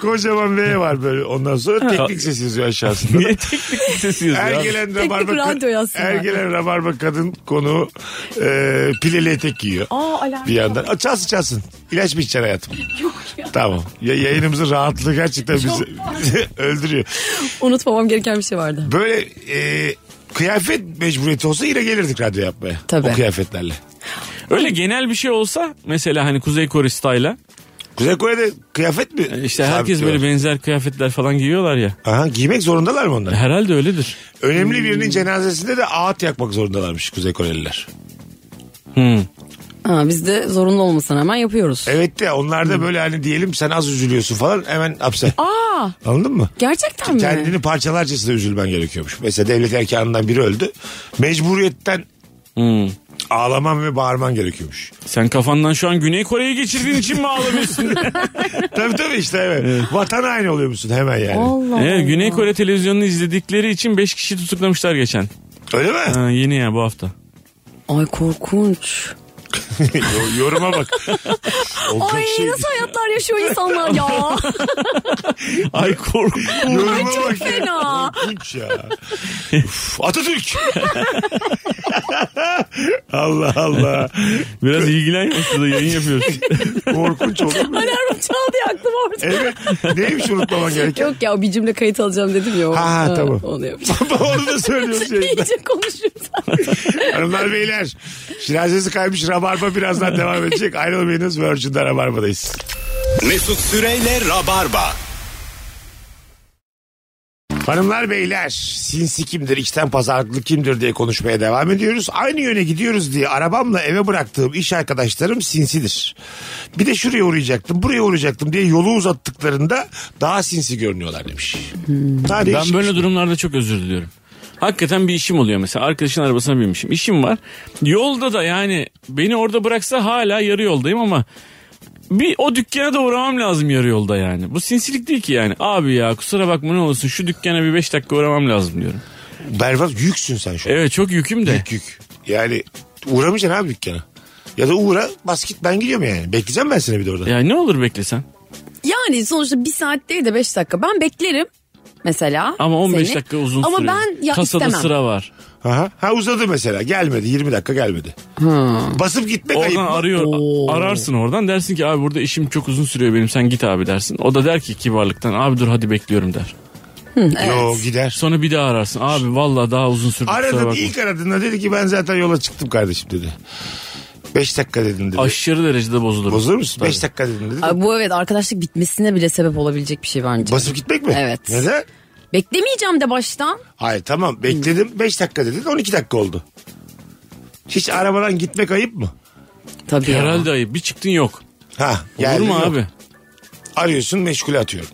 Speaker 3: Kocaman V var böyle. Ondan sonra teknik lisesi yazıyor aşağısında.
Speaker 5: Niye teknik lisesiyiz
Speaker 3: Her
Speaker 5: ya?
Speaker 3: gelen
Speaker 4: Teknik
Speaker 3: rabarba,
Speaker 4: radyo yazsınlar.
Speaker 3: her gelen rabarba kadın konu e, pileli etek giyiyor.
Speaker 4: Aa, alarm
Speaker 3: bir yandan. Aa, çalsın çalsın. İlaç mı içeceksin hayatım?
Speaker 4: Yok ya.
Speaker 3: Tamam. Ya, yayınımızın rahatlığı gerçekten bizi, bizi öldürüyor.
Speaker 4: Unutmamam gereken bir şey vardı.
Speaker 3: Böyle e, kıyafet mecburiyeti olsa yine gelirdik radyo yapmaya.
Speaker 4: Tabii.
Speaker 3: O kıyafetlerle.
Speaker 5: Öyle genel bir şey olsa mesela hani Kuzey Kore style'a
Speaker 3: Kuzey Kore'de kıyafet mi?
Speaker 5: E işte herkes böyle
Speaker 3: sabitliyorlar?
Speaker 5: benzer kıyafetler falan giyiyorlar ya. E,
Speaker 3: Aha, giymek zorundalar mı onlar?
Speaker 5: Herhalde öyledir.
Speaker 3: Önemli birinin cenazesinde de ağıt yakmak zorundalarmış Kuzey Koreliler.
Speaker 4: Ha, biz de zorunlu olmasına hemen yapıyoruz.
Speaker 5: E,
Speaker 3: Evet de onlar da böyle hani diyelim sen az üzülüyorsun falan hemen hapse.
Speaker 4: Aa Hmm.
Speaker 3: Anladın mı?
Speaker 4: gerçekten mi?
Speaker 3: Kendini parçalarcasına üzülmen gerekiyormuş. Mesela devlet erkanından biri öldü. Mecburiyetten
Speaker 5: Hmm.
Speaker 3: ağlaman ve bağırman gerekiyormuş.
Speaker 5: Sen kafandan şu an Güney Kore'yi geçirdiğin için mi ağlamıyorsun?
Speaker 3: tabii tabii işte evet. Vatan aynı oluyor musun hemen yani.
Speaker 4: Allah
Speaker 5: Ee,
Speaker 4: Allah.
Speaker 5: Güney Kore televizyonunu izledikleri için 5 kişi tutuklamışlar geçen.
Speaker 3: Öyle mi?
Speaker 5: Ha, yeni ya bu hafta.
Speaker 4: Ay korkunç.
Speaker 3: Yo- Yoruma bak. Olacak
Speaker 4: Ay
Speaker 3: şey
Speaker 4: nasıl hayatlar yaşıyor insanlar ya.
Speaker 5: Ay korku.
Speaker 3: değil. Yoruma
Speaker 4: çok
Speaker 3: bak. ya.
Speaker 4: fena.
Speaker 3: Korkunç ya. Uf, Atatürk. Allah Allah.
Speaker 5: Biraz ilgilenmiyor şurada yayın yapıyoruz.
Speaker 3: Korkunç oldu mu?
Speaker 4: Alarm çaldı ya aklım
Speaker 5: E,
Speaker 4: orada.
Speaker 3: Evet. Neymiş unutmaman gereken?
Speaker 4: Yok ya bir cümle kayıt alacağım dedim ya. o-
Speaker 3: Ha, tamam.
Speaker 4: Onu yapacağım.
Speaker 3: Onu da
Speaker 5: şey
Speaker 3: söylüyoruz yayında.
Speaker 4: İyice konuşuyoruz.
Speaker 3: Hanımlar beyler. Şirazesi kaymış Rabarba birazdan devam edecek. Ayrılmayınız Virgin'de Rabarba'dayız.
Speaker 2: Mesut Süreyle Rabarba.
Speaker 3: Hanımlar beyler sinsi kimdir içten pazarlıklı kimdir diye konuşmaya devam ediyoruz. Aynı yöne gidiyoruz diye arabamla eve bıraktığım iş arkadaşlarım sinsidir. Bir de şuraya uğrayacaktım buraya uğrayacaktım diye yolu uzattıklarında daha sinsi görünüyorlar demiş. Daha
Speaker 5: Ben
Speaker 3: değişik. şey.
Speaker 5: böyle durumlarda çok özür diliyorum. Hakikaten bir işim oluyor mesela arkadaşın arabasına binmişim. İşim var. Yolda da yani beni orada bıraksa hala yarı yoldayım ama bir o dükkana da uğramam lazım yarı yolda yani. Bu sinsilik değil ki yani. Abi ya kusura bakma ne olursun şu dükkana bir 5 dakika uğramam lazım diyorum.
Speaker 3: Berbat yüksün sen şu an.
Speaker 5: Evet çok yüküm de.
Speaker 3: Yük yük. Yani uğramayacaksın abi dükkana. Ya da uğra bas git ben gidiyorum yani. Bekleyeceğim ben seni bir de orada.
Speaker 5: Ya ne olur beklesen.
Speaker 4: Yani sonuçta bir saat değil de beş dakika. Ben beklerim mesela.
Speaker 5: Ama 15
Speaker 4: seni.
Speaker 5: dakika uzun
Speaker 4: Ama
Speaker 5: sürüyor.
Speaker 4: ben ya
Speaker 5: Kasada
Speaker 4: istemem.
Speaker 5: sıra var.
Speaker 3: Aha. Ha uzadı mesela gelmedi 20 dakika gelmedi. Basıp gitmek ayıp.
Speaker 5: Oradan arıyor. Ararsın oradan dersin ki abi burada işim çok uzun sürüyor benim sen git abi dersin. O da der ki kibarlıktan abi dur hadi bekliyorum der.
Speaker 3: Yo gider.
Speaker 5: Sonra bir daha ararsın. Abi valla daha uzun sürdü. kusura
Speaker 3: Aradın
Speaker 5: bakma.
Speaker 3: ilk aradığında dedi ki ben zaten yola çıktım kardeşim dedi. 5 dakika dedim dedi.
Speaker 5: Aşırı derecede bozulur.
Speaker 3: Bozulur musun?
Speaker 5: Tabii.
Speaker 3: 5 dakika dedim dedi.
Speaker 4: Ay, bu evet arkadaşlık bitmesine bile sebep olabilecek bir şey bence.
Speaker 3: Basıp gitmek mi?
Speaker 4: Evet.
Speaker 3: Neden?
Speaker 4: Beklemeyeceğim de baştan.
Speaker 3: Hayır tamam bekledim 5 dakika dedin 12 dakika oldu. Hiç arabadan gitmek ayıp mı?
Speaker 4: Tabii ya.
Speaker 5: Herhalde ayıp. Bir çıktın yok.
Speaker 3: Ha,
Speaker 5: Olur
Speaker 3: geldin
Speaker 5: mu
Speaker 3: yok.
Speaker 5: abi?
Speaker 3: Arıyorsun meşgule atıyorum.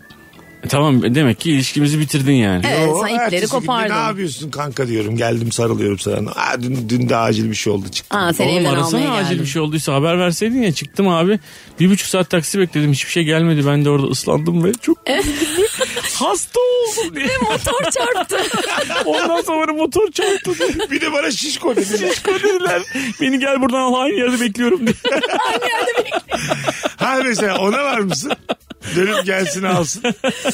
Speaker 5: E, tamam e, demek ki ilişkimizi bitirdin yani.
Speaker 4: Evet
Speaker 3: Yo, ertesi
Speaker 4: sen
Speaker 3: günde
Speaker 4: ipleri
Speaker 3: Ne
Speaker 4: kopardın.
Speaker 3: yapıyorsun kanka diyorum geldim sarılıyorum sana. Aa, dün, dün de acil bir şey oldu çıktım.
Speaker 4: Aa, seni
Speaker 5: Oğlum
Speaker 4: evden
Speaker 5: arasana
Speaker 4: almaya
Speaker 5: acil
Speaker 4: geldim.
Speaker 5: bir şey olduysa haber verseydin ya çıktım abi. Bir buçuk saat taksi bekledim hiçbir şey gelmedi. Ben de orada ıslandım ve çok üzüldüm ve hasta oldum diye.
Speaker 4: Motor çarptı.
Speaker 5: Ondan sonra motor çarptı diye.
Speaker 3: bir de bana şişko dedi.
Speaker 5: Şişko dediler. Beni gel buradan al aynı yerde bekliyorum diye.
Speaker 3: ha mesela ona var mısın? dönüp gelsin alsın.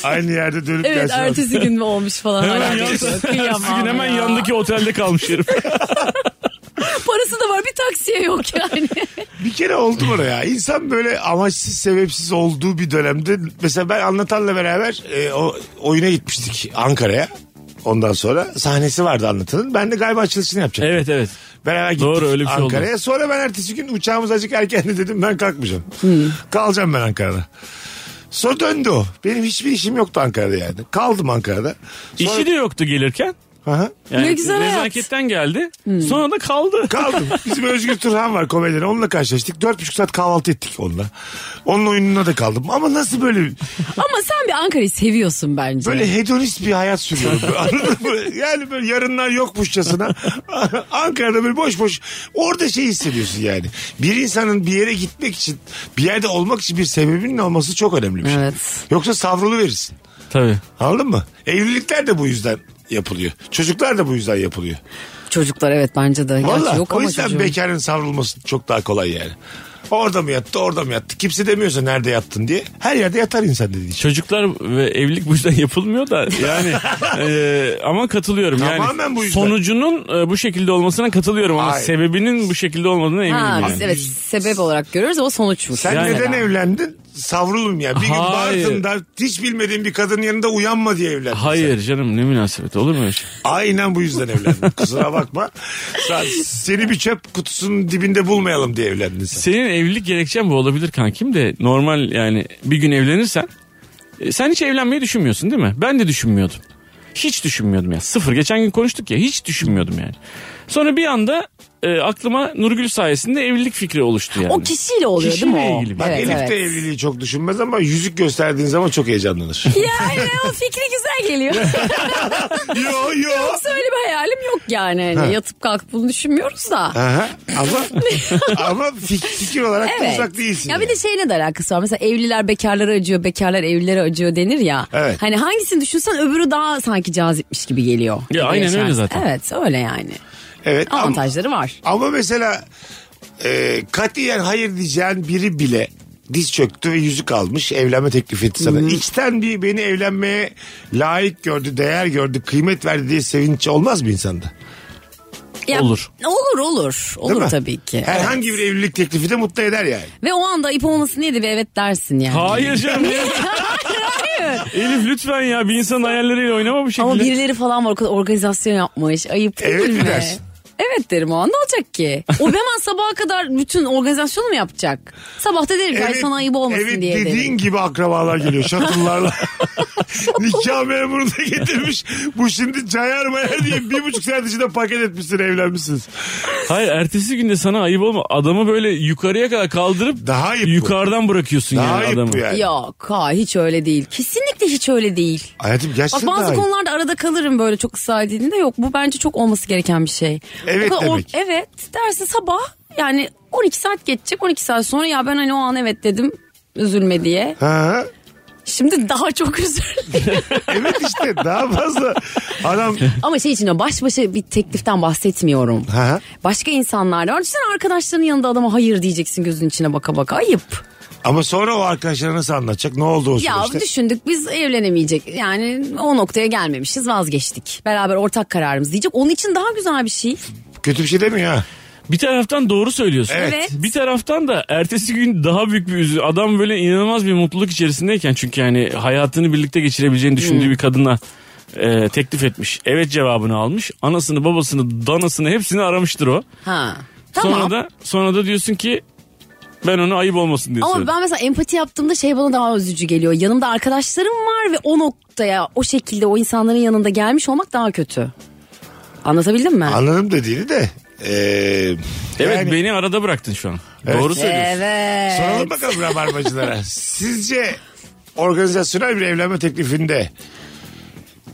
Speaker 3: Aynı yerde dönüp
Speaker 4: Evet
Speaker 3: gelsin alsın.
Speaker 4: ertesi gün mü olmuş falan.
Speaker 5: Hemen,
Speaker 4: Ay,
Speaker 5: yan,
Speaker 4: kıyamam
Speaker 5: Ertesi gün hemen
Speaker 4: ya.
Speaker 5: yandaki otelde kalmış herif.
Speaker 4: Parası da var bir taksiye yok yani.
Speaker 3: Bir kere oldu bana ya. İnsan böyle amaçsız sebepsiz olduğu bir dönemde mesela ben anlatanla beraber e, o oyuna gitmiştik Ankara'ya. Ondan sonra sahnesi vardı anlatanın. Ben de galiba açılışını yapacaktım.
Speaker 5: evet evet.
Speaker 3: Beraber gittik
Speaker 5: Doğru, öyle bir şey oldu.
Speaker 3: Ankara'ya. Sonra ben ertesi gün uçağımız azıcık erken de dedim ben kalkmayacağım.
Speaker 5: Hmm.
Speaker 3: Kalacağım ben Ankara'da. Sonra döndü o. Benim hiçbir işim yoktu Ankara'da yani. Kaldım Ankara'da. Sonra...
Speaker 5: İşi de yoktu gelirken.
Speaker 3: Aha.
Speaker 5: Yani
Speaker 4: Ne güzel hayat. Hmm.
Speaker 5: Nezaketten geldi. Sonra da kaldı.
Speaker 3: Kaldım. Bizim Özgür Turhan var komedyen. Onunla karşılaştık. Dört buçuk saat kahvaltı ettik onunla. Onun oyununa da kaldım. Ama nasıl böyle
Speaker 4: Ama sen bir Ankara'yı seviyorsun bence.
Speaker 3: böyle hedonist bir hayat sürüyorum. Anladın mı? Yani böyle yarınlar yokmuşçasına. Ankara'da böyle boş boş. Orada şey hissediyorsun yani. Bir insanın bir yere gitmek için bir yerde olmak için bir sebebinin olması çok önemli bir şey.
Speaker 4: Evet.
Speaker 3: Yoksa savrulu verirsin.
Speaker 5: Tabii.
Speaker 3: Anladın mı? Evlilikler de bu yüzden yapılıyor. Çocuklar da bu yüzden yapılıyor.
Speaker 4: Çocuklar evet bence de. Gerçi
Speaker 3: Valla
Speaker 4: yok
Speaker 3: o
Speaker 4: ama
Speaker 3: yüzden
Speaker 4: çocuğum.
Speaker 3: bekarın savrulması çok daha kolay yani. Orada mı yattı orada mı yattı. Kimse demiyorsa nerede yattın diye. Her yerde yatar insan şey. dediği için.
Speaker 5: Çocuklar ve evlilik bu yüzden yapılmıyor da yani e, ama katılıyorum
Speaker 3: Tamamen
Speaker 5: yani
Speaker 3: bu yüzden.
Speaker 5: sonucunun e, bu şekilde olmasına katılıyorum ama
Speaker 3: Hayır.
Speaker 5: sebebinin bu şekilde olmadığına eminim.
Speaker 4: Ha,
Speaker 5: yani.
Speaker 4: biz evet sebep olarak görüyoruz ama sonuçmuş.
Speaker 3: Sen
Speaker 5: Yani-
Speaker 3: neden evlendin? Savrulum ya. Bir gün
Speaker 5: Hayır.
Speaker 3: Bartın'da hiç bilmediğin bir kadının yanında uyanma diye evlendin. sen.
Speaker 5: Hayır canım ne münasebet olur mu öyle şey?
Speaker 3: Aynen bu yüzden evlendin. Kusura bakma. Sen, seni bir çöp kutusunun dibinde bulmayalım diye evlendin sen.
Speaker 5: Senin evlilik gerekçen bu olabilir kankim de normal yani bir gün evlenirsen e, sen hiç evlenmeyi düşünmüyorsun değil mi? Ben de düşünmüyordum. Hiç düşünmüyordum ya. Sıfır. Geçen gün konuştuk ya. Hiç düşünmüyordum yani. Sonra bir anda e, aklıma Nurgül sayesinde evlilik fikri oluştu yani.
Speaker 4: O kişiyle oluyor değil mi
Speaker 5: Kişiyle
Speaker 4: o?
Speaker 5: ilgili.
Speaker 3: Bak
Speaker 4: evet,
Speaker 3: Elif
Speaker 4: evet.
Speaker 3: de evliliği çok düşünmez ama yüzük gösterdiğin zaman çok heyecanlanır.
Speaker 4: Yani o fikri güzel geliyor.
Speaker 3: yo yo.
Speaker 4: Söyle bir hayalim yok yani. Hani Yatıp kalkıp bunu düşünmüyoruz da.
Speaker 3: Aha, ama ama fik- fikir olarak da
Speaker 4: Evet.
Speaker 3: uzak değilsin.
Speaker 4: Ya bir
Speaker 3: yani.
Speaker 4: de şeyle de alakası var. Mesela evliler bekarlara acıyor, bekarlar evlilere acıyor denir ya.
Speaker 3: Evet.
Speaker 4: Hani hangisini düşünsen öbürü daha sanki cazipmiş gibi geliyor. Gibi
Speaker 5: aynen öyle
Speaker 4: yaşarsın.
Speaker 5: zaten.
Speaker 4: Evet öyle yani.
Speaker 3: evet, ama-
Speaker 4: Avantajları var.
Speaker 3: Ama mesela e, katiyen hayır diyeceğin biri bile diz çöktü ve yüzük almış evlenme teklif etti sana. İçten bir beni evlenmeye layık gördü, değer gördü, kıymet verdi diye sevinç olmaz mı insanda?
Speaker 4: Ya,
Speaker 5: Olur.
Speaker 4: Olur olur.
Speaker 3: Değil
Speaker 4: Olur
Speaker 3: mi?
Speaker 4: tabii ki.
Speaker 3: Herhangi bir evlilik teklifi de mutlu eder yani.
Speaker 4: Ve o anda ip olmasın diye de bir evet dersin yani.
Speaker 5: Hayır canım. ya. Elif lütfen ya bir insanın hayalleriyle oynama bu şekilde.
Speaker 4: Ama birileri falan var organizasyon yapmış. Ayıp değil
Speaker 3: Evet mi
Speaker 4: mi?
Speaker 3: dersin?
Speaker 4: Evet derim o an ne olacak ki? O hemen sabaha kadar bütün organizasyonu mu yapacak? Sabah da derim ki "Ay sana ayıp olmasın
Speaker 3: evet
Speaker 4: diye
Speaker 3: dediğin
Speaker 4: derim.
Speaker 3: gibi akrabalar geliyor şatıllarla. Nikah memuru da getirmiş. Bu şimdi cayar mayar diye bir buçuk saat içinde paket etmişsin evlenmişsiniz.
Speaker 5: Hayır ertesi günde sana ayıp olma. Adamı böyle yukarıya kadar kaldırıp
Speaker 3: Daha ayıp bu.
Speaker 5: yukarıdan bırakıyorsun
Speaker 3: Daha
Speaker 5: yani
Speaker 3: ayıp
Speaker 5: adamı.
Speaker 3: bu yani.
Speaker 4: Yok ha, hiç öyle değil. Kesinlikle hiç öyle değil.
Speaker 3: Hayatım
Speaker 4: Bak
Speaker 3: gerçekten daha
Speaker 4: bazı
Speaker 3: ayıp.
Speaker 4: konularda arada kalırım böyle çok ısrar edildiğinde yok bu bence çok olması gereken bir şey.
Speaker 3: Evet
Speaker 4: O kadar or-
Speaker 3: demek.
Speaker 4: evet dersin sabah yani 12 saat geçecek 12 saat sonra ya ben hani o an evet dedim üzülme diye.
Speaker 3: Ha?
Speaker 4: Şimdi daha çok üzüldüm.
Speaker 3: Evet işte daha fazla adam
Speaker 4: Ama şey için o baş başa bir tekliften bahsetmiyorum.
Speaker 3: Ha.
Speaker 4: Başka insanlar da var. Sen arkadaşlarının yanında adama hayır diyeceksin gözün içine baka baka. Ayıp.
Speaker 3: ama sonra o arkadaşlara nasıl anlatacak ne oldu o
Speaker 4: Ya
Speaker 3: süreçte?
Speaker 4: düşündük biz evlenemeyecek. Yani o noktaya gelmemişiz vazgeçtik. Beraber ortak kararımız diyecek. Onun için daha güzel bir şey.
Speaker 3: Kötü bir şey demiyor ha.
Speaker 5: Bir taraftan doğru söylüyorsun.
Speaker 3: Evet.
Speaker 4: Evet.
Speaker 5: Bir taraftan da ertesi gün daha büyük bir üzü. Adam böyle inanılmaz bir mutluluk içerisindeyken çünkü yani hayatını birlikte geçirebileceğini
Speaker 3: Hmm.
Speaker 5: düşündüğü bir kadına e, teklif etmiş. Evet cevabını almış. Anasını, babasını, danasını hepsini aramıştır o.
Speaker 4: Ha. Tamam.
Speaker 5: Sonra da sonra da diyorsun ki ben ona ayıp olmasın diyorsun.
Speaker 4: Ama ben mesela empati yaptığımda şey bana daha üzücü geliyor. Yanımda arkadaşlarım var ve o noktaya o şekilde o insanların yanında gelmiş olmak daha kötü. Anlatabildim mi?
Speaker 3: Anladım dediğini de. Ee,
Speaker 5: Evet
Speaker 3: yani-
Speaker 5: beni arada bıraktın şu an.
Speaker 3: Evet.
Speaker 5: Doğru söylüyorsun.
Speaker 4: evet.
Speaker 3: Soralım bakalım rabarbacılara. Sizce organizasyonel bir evlenme teklifinde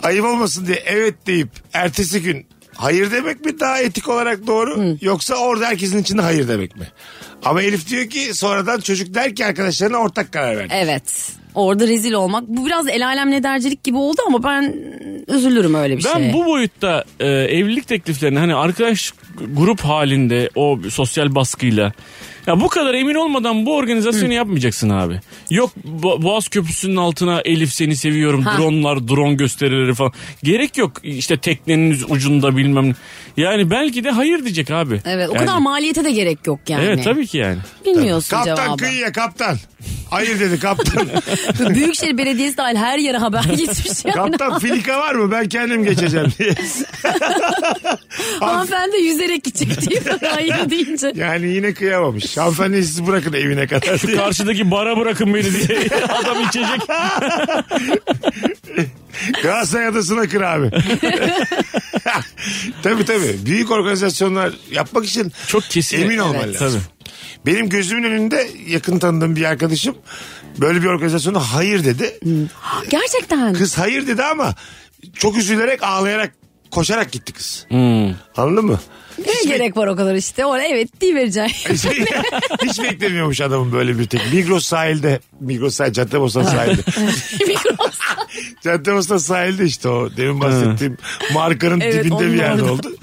Speaker 3: ayıp olmasın diye evet deyip ertesi gün hayır demek mi daha etik olarak doğru yoksa orada herkesin içinde hayır demek mi? Ama Elif diyor ki sonradan çocuk der ki arkadaşlarına ortak karar verdi.
Speaker 4: Evet. Orada rezil olmak. Bu biraz el alem ne dercilik gibi oldu ama ben üzülürüm öyle bir şey.
Speaker 5: Ben
Speaker 4: şeye.
Speaker 5: bu boyutta e, evlilik tekliflerini hani arkadaş grup halinde o sosyal baskıyla ya bu kadar emin olmadan bu organizasyonu yapmayacaksın abi. Yok Bo- Boğaz Köprüsü'nün altına Elif seni seviyorum
Speaker 4: Ha.
Speaker 5: dronlar drone gösterileri falan. Gerek yok işte teknenin ucunda bilmem ne. Yani belki de hayır diyecek abi.
Speaker 4: Evet o
Speaker 5: Yani-
Speaker 4: kadar maliyete de gerek yok yani.
Speaker 5: Evet tabii ki yani.
Speaker 4: Bilmiyorsun
Speaker 3: Kaptan
Speaker 4: cevabı.
Speaker 3: kıyıya kaptan. Hayır dedi kaptan.
Speaker 4: Büyükşehir Belediyesi dahil her yere haber gitmiş yani.
Speaker 3: kaptan filika var mı ben kendim geçeceğim diye.
Speaker 4: Hanımefendi yüzerek gidecek diye hayır deyince.
Speaker 3: Yani yine kıyamamış. Hanımefendi sizi bırakın evine kadar diye.
Speaker 5: Karşıdaki bara bırakın beni diye adam içecek.
Speaker 3: Galatasaray adasına kır abi. tabii tabii. Büyük organizasyonlar yapmak için
Speaker 5: Çok kesin.
Speaker 3: emin olman
Speaker 5: Evet.
Speaker 3: lazım. Benim gözümün önünde yakın tanıdığım bir arkadaşım böyle bir organizasyona hayır dedi.
Speaker 4: Gerçekten.
Speaker 3: Kız hayır dedi ama çok üzülerek ağlayarak koşarak gitti kız. Anladın mı?
Speaker 4: ne gerek var o kadar işte. Oraya evet diye vereceksin.
Speaker 3: Şey, hiç beklemiyormuş adamın böyle bir tek. Migros sahilde. Migros sahil, Caddebostan sahilde. Caddebostan sahilde işte o demin bahsettiğim markanın
Speaker 4: Evet,
Speaker 3: dibinde
Speaker 4: onun
Speaker 3: bir yerde
Speaker 4: orada.
Speaker 3: oldu.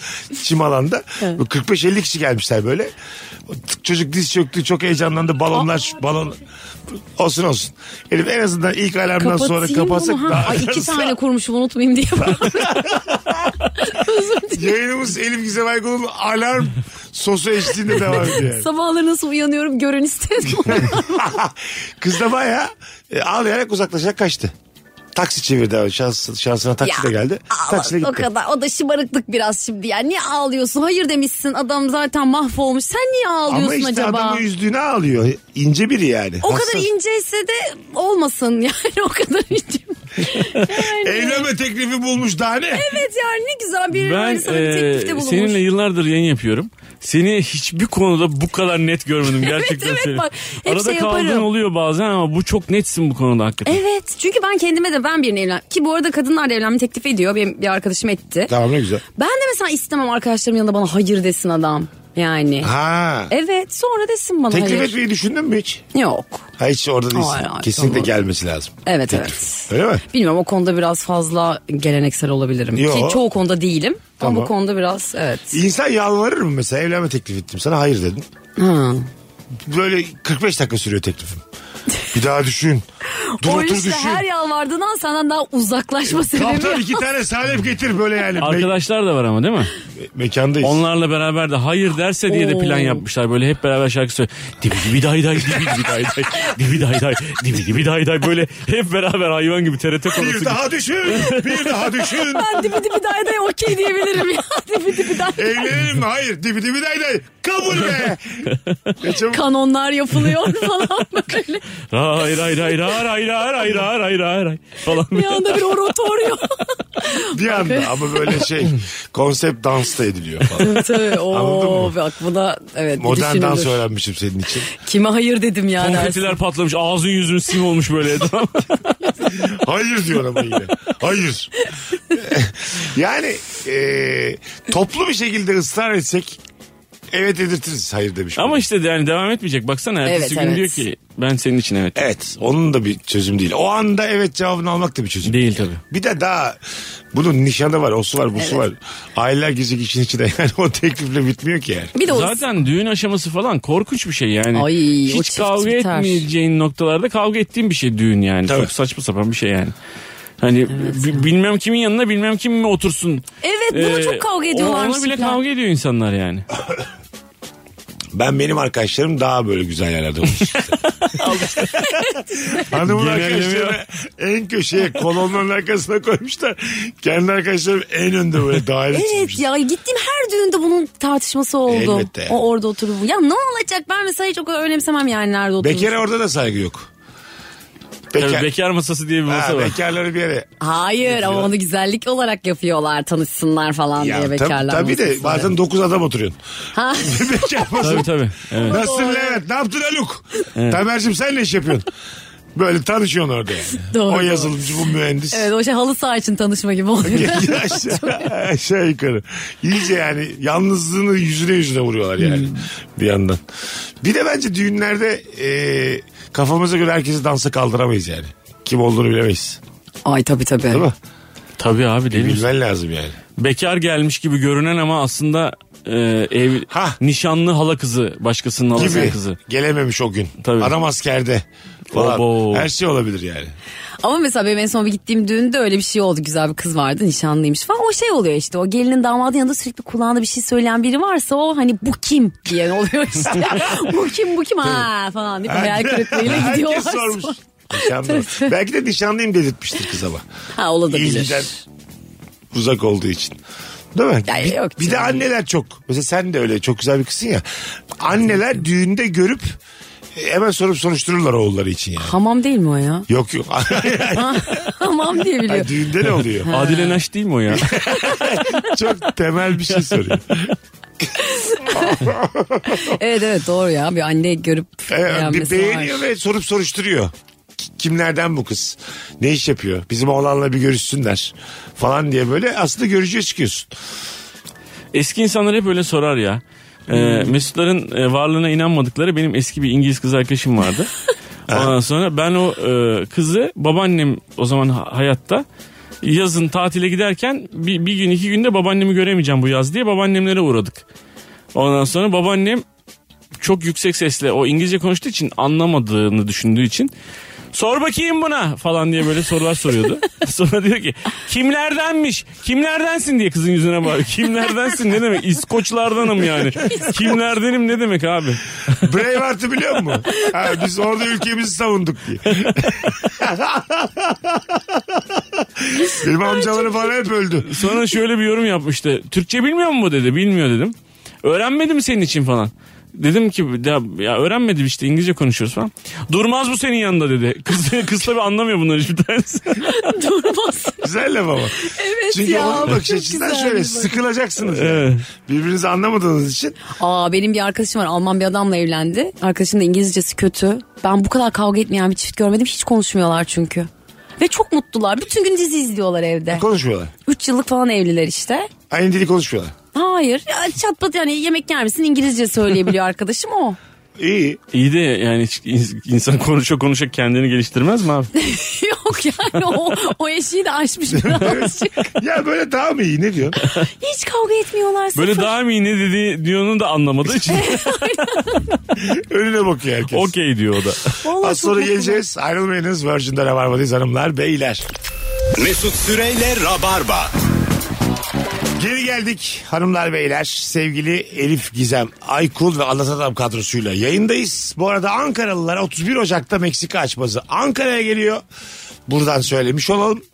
Speaker 3: Çim alanda. Bu 45-50 kişi gelmişler böyle. O t- Çocuk diz çöktü çok heyecanlandı. Balonlar şu- balon olsun olsun. Elif en azından ilk alarmdan sonra kapatsak
Speaker 4: bunu, ha.
Speaker 3: daha
Speaker 4: Ay iki tane kurmuşum unutmayayım diye. Özür dilerim.
Speaker 3: Yayınımız Elif Gizem Aygun'un alarm sosu eşliğinde devam ediyor. yani.
Speaker 4: Sabahları nasıl uyanıyorum görün istedim.
Speaker 3: Kız da bayağı e, ağlayarak uzaklaşarak kaçtı. Taksi çevirdi abi. Şans, şansına taksi de geldi.
Speaker 4: ağla-
Speaker 3: Taksiyle
Speaker 4: O
Speaker 3: gitti.
Speaker 4: kadar. O da şımarıklık biraz şimdi. Yani niye ağlıyorsun? Hayır demişsin. Adam zaten mahvolmuş. Sen niye ağlıyorsun
Speaker 3: Ama işte
Speaker 4: acaba?
Speaker 3: adamı üzdüğüne ağlıyor. İnce biri yani.
Speaker 4: o
Speaker 3: Hassas.
Speaker 4: kadar inceyse de olmasın yani o kadar ince. Yani.
Speaker 3: Evlenme teklifi bulmuş daha ne?
Speaker 4: Evet yani ne güzel bir
Speaker 5: Ben
Speaker 4: ben, sana bir teklifte
Speaker 5: e,
Speaker 4: bulunmuş.
Speaker 5: seninle yıllardır yayın yapıyorum. Seni hiçbir konuda bu kadar net görmedim gerçekten.
Speaker 4: evet,
Speaker 5: seni.
Speaker 4: bak, hep
Speaker 5: Arada
Speaker 4: şey
Speaker 5: kaldığın
Speaker 4: yaparım.
Speaker 5: oluyor bazen ama bu çok netsin bu konuda hakikaten.
Speaker 4: Evet çünkü ben kendime de ben birine evlen... Ki bu arada kadınlar da evlenme teklif ediyor. Benim bir arkadaşım etti.
Speaker 3: Tamam ne güzel.
Speaker 4: Ben de mesela istemem arkadaşlarım yanında bana hayır desin adam. Yani.
Speaker 3: Ha.
Speaker 4: Evet sonra desin bana
Speaker 3: Teklif
Speaker 4: hayır.
Speaker 3: etmeyi düşündün mü hiç?
Speaker 4: Yok.
Speaker 3: Ha hiç orada değilsin.
Speaker 4: Hayır, hayır,
Speaker 3: Kesinlikle
Speaker 4: tamam.
Speaker 3: gelmesi lazım.
Speaker 4: Evet
Speaker 3: Teklif.
Speaker 4: evet.
Speaker 3: Öyle mi?
Speaker 4: Bilmiyorum o konuda biraz fazla geleneksel olabilirim.
Speaker 3: Yo.
Speaker 4: Ki çoğu konuda değilim.
Speaker 3: Tamam.
Speaker 4: Ama bu konuda biraz evet.
Speaker 3: İnsan yalvarır mı mesela evlenme teklif ettim sana hayır dedin.
Speaker 4: Ha.
Speaker 3: Böyle 45 dakika sürüyor teklifim. Bir daha düşün. Dur
Speaker 4: O
Speaker 3: otur
Speaker 4: işte
Speaker 3: düşün.
Speaker 4: her yalvardığından senden daha uzaklaşma
Speaker 3: Kaptan
Speaker 4: sebebi.
Speaker 3: iki tane salep getir böyle yani. Me-
Speaker 5: Arkadaşlar da var ama değil mi?
Speaker 3: mekandayız.
Speaker 5: Onlarla beraber de hayır derse diye de plan
Speaker 4: Oo.
Speaker 5: yapmışlar. Böyle hep beraber şarkı söylüyor. Dibi dibi day day, dibi dibi day day, dibi day day, dibi dibi day day. Böyle hep beraber hayvan gibi TRT konusu.
Speaker 3: Bir daha düşün. Bir daha düşün.
Speaker 4: Ben dibi dibi day day okey diyebilirim ya. Dibi dibi day day.
Speaker 3: Evlenelim mi? Hayır. Dibi dibi day day. Kabul be. Ne çabuk.
Speaker 4: Kanonlar yapılıyor falan böyle.
Speaker 5: Ray ray ray ray ray ray ray ray ray ray ray falan.
Speaker 4: Bir anda bir oratorio.
Speaker 3: bir anda ama böyle şey konsept dans da ediliyor falan.
Speaker 4: Tabii
Speaker 3: Anladın mı?
Speaker 4: ooo bak buna evet bir
Speaker 3: Modern
Speaker 4: düşünülür.
Speaker 3: dans öğrenmişim senin için.
Speaker 4: Kime hayır dedim ya dersin.
Speaker 5: Konfetiler patlamış ağzın yüzün sim olmuş böyle. Tamam.
Speaker 3: Hayır diyor ama yine. Hayır. yani e, toplu bir şekilde ısrar etsek evet dedirtiriz hayır demiş.
Speaker 5: Ama işte de yani devam etmeyecek. Baksana ertesi
Speaker 4: Evet,
Speaker 5: gün
Speaker 4: evet.
Speaker 5: diyor ki ben senin için evet.
Speaker 3: Evet onun da bir çözüm değil. O anda evet cevabını almak da bir çözüm
Speaker 5: Değil tabii.
Speaker 3: Bir de daha bunun nişanı var, osu var, busu var. Aileler girecek işin içine. Yani o teklifle bitmiyor ki yani.
Speaker 4: Bir de o
Speaker 5: Zaten düğün aşaması falan korkunç bir şey yani.
Speaker 4: Ay, o
Speaker 5: Hiç
Speaker 4: çift
Speaker 5: kavga
Speaker 4: biter.
Speaker 5: etmeyeceğin noktalarda kavga ettiğin bir şey düğün yani.
Speaker 3: Tabii.
Speaker 5: Çok saçma sapan bir şey yani. Hani bi- bilmem kimin yanına bilmem kim mi otursun.
Speaker 4: Evet, buna çok kavga ediyorlarmış
Speaker 5: Ee, Ona bile
Speaker 4: falan.
Speaker 5: kavga ediyor insanlar yani.
Speaker 3: Ben benim arkadaşlarım daha böyle güzel yerlerde olmuş. Hanımın
Speaker 5: Genelleme
Speaker 3: arkadaşlarını en köşeye kolonların arkasına koymuşlar. Kendi arkadaşlarım en önde böyle daire
Speaker 4: Evet
Speaker 3: çizmişler.
Speaker 4: ya gittiğim her düğünde bunun tartışması oldu.
Speaker 3: Elbette yani.
Speaker 4: O orada oturup ya ne olacak ben mesela hiç o kadar önemsemem yani nerede oturur.
Speaker 3: Bekara orada da saygı yok.
Speaker 5: Tabii
Speaker 3: Bekar,
Speaker 5: bekar masası diye bir masa
Speaker 3: ha,
Speaker 5: var.
Speaker 3: bekarları bir yere.
Speaker 4: Hayır ama onu güzellik olarak yapıyorlar tanışsınlar falan
Speaker 3: Ya,
Speaker 4: diye
Speaker 3: tab-
Speaker 4: bekarlar.
Speaker 3: tabii de
Speaker 4: masasında.
Speaker 3: bazen 9 adam oturuyorsun.
Speaker 4: Ha,
Speaker 3: Bekar
Speaker 5: Tabii tabii. Evet.
Speaker 3: Nasılsın Levent? Ne yaptın Haluk? Tamer'cim sen ne iş yapıyorsun? Böyle tanışıyorsun orada yani.
Speaker 4: Doğru,
Speaker 3: o
Speaker 4: doğru.
Speaker 3: yazılımcı bu mühendis.
Speaker 4: Evet o şey halı saha için tanışma gibi oluyor.
Speaker 3: aşağı, aşağı yukarı. İyice yani yalnızlığını yüzüne yüzüne vuruyorlar yani bir yandan. Bir de bence düğünlerde e, kafamıza göre herkesi dansa kaldıramayız yani. Kim olduğunu bilemeyiz.
Speaker 4: Ay tabii tabii.
Speaker 3: Değil mi?
Speaker 5: Tabii abi değil mi?
Speaker 3: Bilmen lazım yani.
Speaker 5: Bekar gelmiş gibi görünen ama aslında e, ev
Speaker 3: Hah.
Speaker 5: nişanlı hala kızı başkasının halası
Speaker 3: Gibi.
Speaker 5: kızı.
Speaker 3: Gelememiş o gün.
Speaker 5: Tabii.
Speaker 3: Adam askerde. Falan.
Speaker 5: Obo.
Speaker 3: Her şey olabilir yani.
Speaker 4: Ama mesela benim en son bir gittiğim düğünde öyle bir şey oldu. Güzel bir kız vardı nişanlıymış falan. O şey oluyor işte o gelinin damadın yanında sürekli kulağında bir şey söyleyen biri varsa o hani bu kim diyen oluyor işte. bu kim bu kim ha falan deyip hayal kırıklığıyla gidiyorlar.
Speaker 3: Herkes sormuş.
Speaker 4: sonra.
Speaker 3: Nişanlı. Belki de nişanlıyım dedirtmiştir kız ama.
Speaker 4: Ha olabilir.
Speaker 3: İlgiden uzak olduğu için. Değil mi?
Speaker 4: Ya
Speaker 3: bir,
Speaker 4: yok
Speaker 3: bir de
Speaker 4: canım.
Speaker 3: anneler çok. Mesela sen de öyle çok güzel bir kızsın ya. Anneler düğünde görüp e, hemen sorup soruştururlar oğulları için yani.
Speaker 4: Hamam değil mi o ya?
Speaker 3: Yok yok.
Speaker 4: Hamam diye biliyorum.
Speaker 3: Ay, düğünde ne oluyor?
Speaker 5: Adile Naş değil mi o ya?
Speaker 3: çok temel bir şey soruyor.
Speaker 4: Evet evet doğru ya bir anne görüp
Speaker 3: Ee, bir
Speaker 4: beğenmesi
Speaker 3: beğeniyor
Speaker 4: var.
Speaker 3: ve sorup soruşturuyor. Ki- Kimlerden bu kız? Ne iş yapıyor? Bizim oğlanla bir görüşsünler falan diye böyle aslında görücüye çıkıyorsun.
Speaker 5: Eski insanlar hep öyle sorar ya. Ee, Mesutların e, varlığına inanmadıkları benim eski bir İngiliz kız arkadaşım vardı. Ondan sonra ben o e, kızı babaannem o zaman ha- hayatta yazın tatile giderken bir, bir gün iki günde babaannemi göremeyeceğim bu yaz diye babaannemlere uğradık. Ondan sonra babaannem çok yüksek sesle o İngilizce konuştuğu için anlamadığını düşündüğü için sor bakayım buna falan diye böyle sorular soruyordu. Sonra diyor ki kimlerdenmiş kimlerdensin diye kızın yüzüne bağırıyor. Kimlerdensin ne demek İskoçlardanım yani. Kimlerdenim ne demek abi.
Speaker 3: Braveheart'ı biliyor musun? Ha, biz orada ülkemizi savunduk diye. Benim amcaları falan hep öldü.
Speaker 5: Sonra şöyle bir yorum yapmıştı. Türkçe bilmiyor mu bu dedi. Bilmiyor dedim. Öğrenmedi mi senin için falan. Dedim ki ya, ya öğrenmedim işte İngilizce konuşuyoruz falan. Durmaz bu senin yanında dedi. Kız, kız tabii anlamıyor bunları hiçbir tanesi.
Speaker 4: Durmaz.
Speaker 3: Güzel laf ama.
Speaker 4: Evet
Speaker 3: Çünkü
Speaker 4: ya.
Speaker 3: onun bakış
Speaker 4: çok
Speaker 3: açısından
Speaker 4: güzel
Speaker 3: şöyle
Speaker 4: bir bakış.
Speaker 3: sıkılacaksınız. yani. Birbirinizi anlamadığınız için
Speaker 4: Aa benim bir arkadaşım var Alman bir adamla evlendi. Arkadaşının da İngilizcesi kötü. Ben bu kadar kavga etmeyen bir çift görmedim. Hiç konuşmuyorlar çünkü. Ve çok mutlular. Bütün gün dizi izliyorlar evde.
Speaker 3: konuşmuyorlar.
Speaker 4: Üç yıllık falan evliler işte.
Speaker 3: Aynı dili konuşmuyorlar.
Speaker 4: Hayır. Ya, çat pat yani yemek yer misin İngilizce söyleyebiliyor arkadaşım o.
Speaker 3: İyi.
Speaker 5: İyi de yani hiç ins- insan konuşa konuşa kendini geliştirmez mi abi?
Speaker 4: Yok yani o, o eşiği de aşmış birazcık.
Speaker 3: Ya böyle daha mı iyi ne diyorsun?
Speaker 4: Hiç kavga etmiyorlar. sıfır.
Speaker 5: Böyle daha mı iyi ne dedi diyorunu da anlamadığı için
Speaker 3: Önüne bakıyor herkes.
Speaker 5: okey diyor o da.
Speaker 4: Vallahi
Speaker 3: Az
Speaker 4: çok
Speaker 3: sonra
Speaker 4: mutlular.
Speaker 3: geleceğiz. Ayrılmayınız. Virgin'de Rabarba'dayız hanımlar beyler.
Speaker 2: Mesut Süreyle Rabarba.
Speaker 3: Geri geldik hanımlar beyler. Sevgili Elif Gizem, Aykul ve Anlatan Adam kadrosuyla yayındayız. Bu arada Ankaralılara 31 Ocak'ta Meksika açması Ankara'ya geliyor. Buradan söylemiş olalım.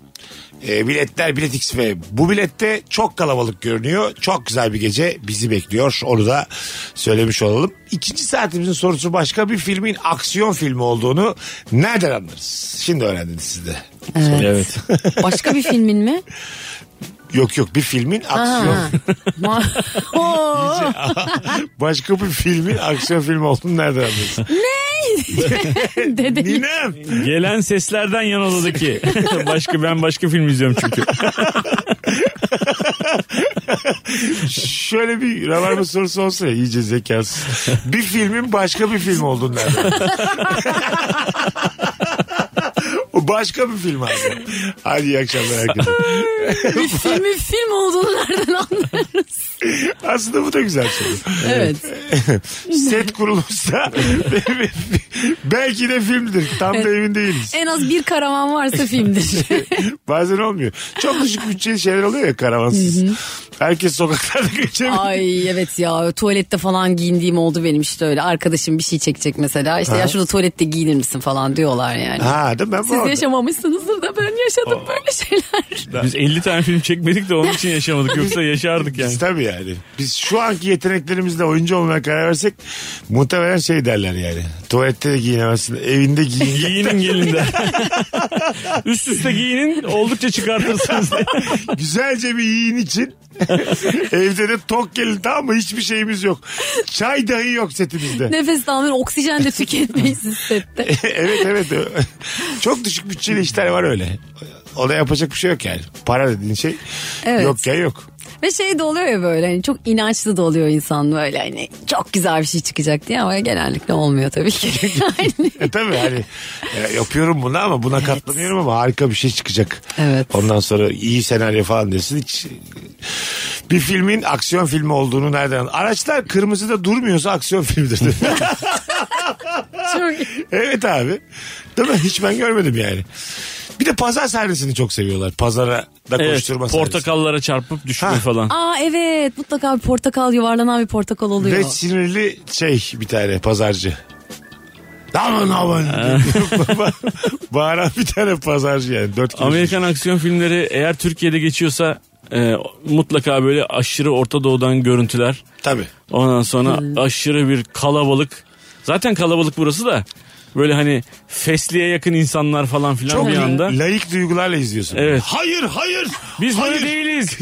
Speaker 3: E, biletler biletix ve bu bilette çok kalabalık görünüyor. Çok güzel bir gece bizi bekliyor. Onu da söylemiş olalım. İkinci saatimizin sorusu başka bir filmin aksiyon filmi olduğunu nereden anlarız? Şimdi öğrendiniz siz de.
Speaker 5: Evet.
Speaker 4: Başka bir filmin mi?
Speaker 3: Yok yok bir filmin aksiyon
Speaker 4: Ha. Ma- Oo.
Speaker 3: Başka bir filmin aksiyon filmi olduğunu nereden anlıyorsun?
Speaker 4: Dede.
Speaker 3: Ninem.
Speaker 5: Gelen seslerden yan odadaki. başka ben başka film izliyorum çünkü.
Speaker 3: Şöyle bir rabarba sorusu olsa ya iyice zekasız. Bir filmin başka bir film olduğunu nereden anlıyorsun? O başka bir film abi. Hadi iyi akşamlar herkese.
Speaker 4: bir filmin film olduğunu nereden anladın?
Speaker 3: Aslında bu da güzel soru.
Speaker 4: Evet.
Speaker 3: Set kurulursa belki de filmdir. Tam da emin değiliz.
Speaker 4: En az bir karavan varsa filmdir.
Speaker 3: Bazen olmuyor. Çok düşük bütçeli şeyler oluyor ya karavansız. Herkes sokaklarda geçemiyor.
Speaker 4: Ay evet ya tuvalette falan giyindiğim oldu benim işte öyle. Arkadaşım bir şey çekecek mesela. İşte ya şurada tuvalette giyinir misin falan diyorlar yani.
Speaker 3: Ha değil mi? Ben bu
Speaker 4: Siz
Speaker 3: arada-
Speaker 4: yaşamamışsınızdır da ben yaşadım böyle şeyler.
Speaker 5: Biz 50 tane film çekmedik de onun için yaşamadık. Yoksa yaşardık yani.
Speaker 3: Biz tabii yani. Biz şu anki yeteneklerimizle oyuncu olmaya karar versek muhtemelen şey derler yani. Tuvalette de giyinemezsin, evinde giyin.
Speaker 5: Giyinin gelin de. Üst üste giyinin oldukça çıkartırsınız.
Speaker 3: Güzelce bir yiyin için Evde de tok gelin tamam mı? Hiçbir şeyimiz yok. Çay dahi yok setimizde.
Speaker 4: Nefes almayın oksijen de tüketmeyiz siz sette.
Speaker 3: evet evet. Çok düşük bütçeli işler var öyle. Ona yapacak bir şey yok yani. Para dediğin şey
Speaker 4: Evet.
Speaker 3: yok ya yok.
Speaker 4: Ve şey de oluyor ya böyle hani çok inançlı da oluyor insan böyle hani çok güzel bir şey çıkacak diye ama genellikle olmuyor tabii ki. Yani
Speaker 3: E tabii hani e, yapıyorum bunu ama buna katlanıyorum ama harika bir şey çıkacak.
Speaker 4: Evet.
Speaker 3: Ondan sonra iyi senaryo falan desin hiç bir filmin aksiyon filmi olduğunu nereden Araçlar kırmızıda durmuyorsa aksiyon filmidir.
Speaker 4: çok
Speaker 3: evet abi. Değil mi? Hiç ben görmedim yani. Bir de pazar servisini çok seviyorlar. Pazara da
Speaker 5: Evet,
Speaker 3: koşturma servisi.
Speaker 5: portakallara çarpıp düşme
Speaker 3: Ha.
Speaker 5: falan.
Speaker 4: Aa evet mutlaka bir portakal yuvarlanan bir portakal oluyor.
Speaker 3: Ve sinirli şey bir tane pazarcı. Aman aman. Bağıran bir tane pazarcı yani. Dört kilo
Speaker 5: Amerikan aksiyon filmleri eğer Türkiye'de geçiyorsa e, mutlaka böyle aşırı Orta Doğu'dan görüntüler.
Speaker 3: Tabii.
Speaker 5: Ondan sonra aşırı bir kalabalık. Zaten kalabalık burası da. Böyle hani fesliğe yakın insanlar falan filan
Speaker 3: Çok
Speaker 5: bir anda.
Speaker 3: layık duygularla izliyorsun.
Speaker 5: Evet.
Speaker 3: Hayır hayır.
Speaker 5: Biz
Speaker 3: hayır.
Speaker 5: böyle değiliz.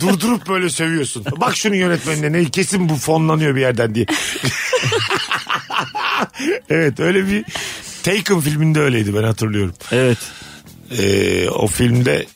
Speaker 3: Durdurup böyle sövüyorsun. Bak şunun yönetmenine ne kesin bu fonlanıyor bir yerden diye. evet öyle bir Taken filminde öyleydi ben hatırlıyorum.
Speaker 5: evet.
Speaker 3: Ee, o filmde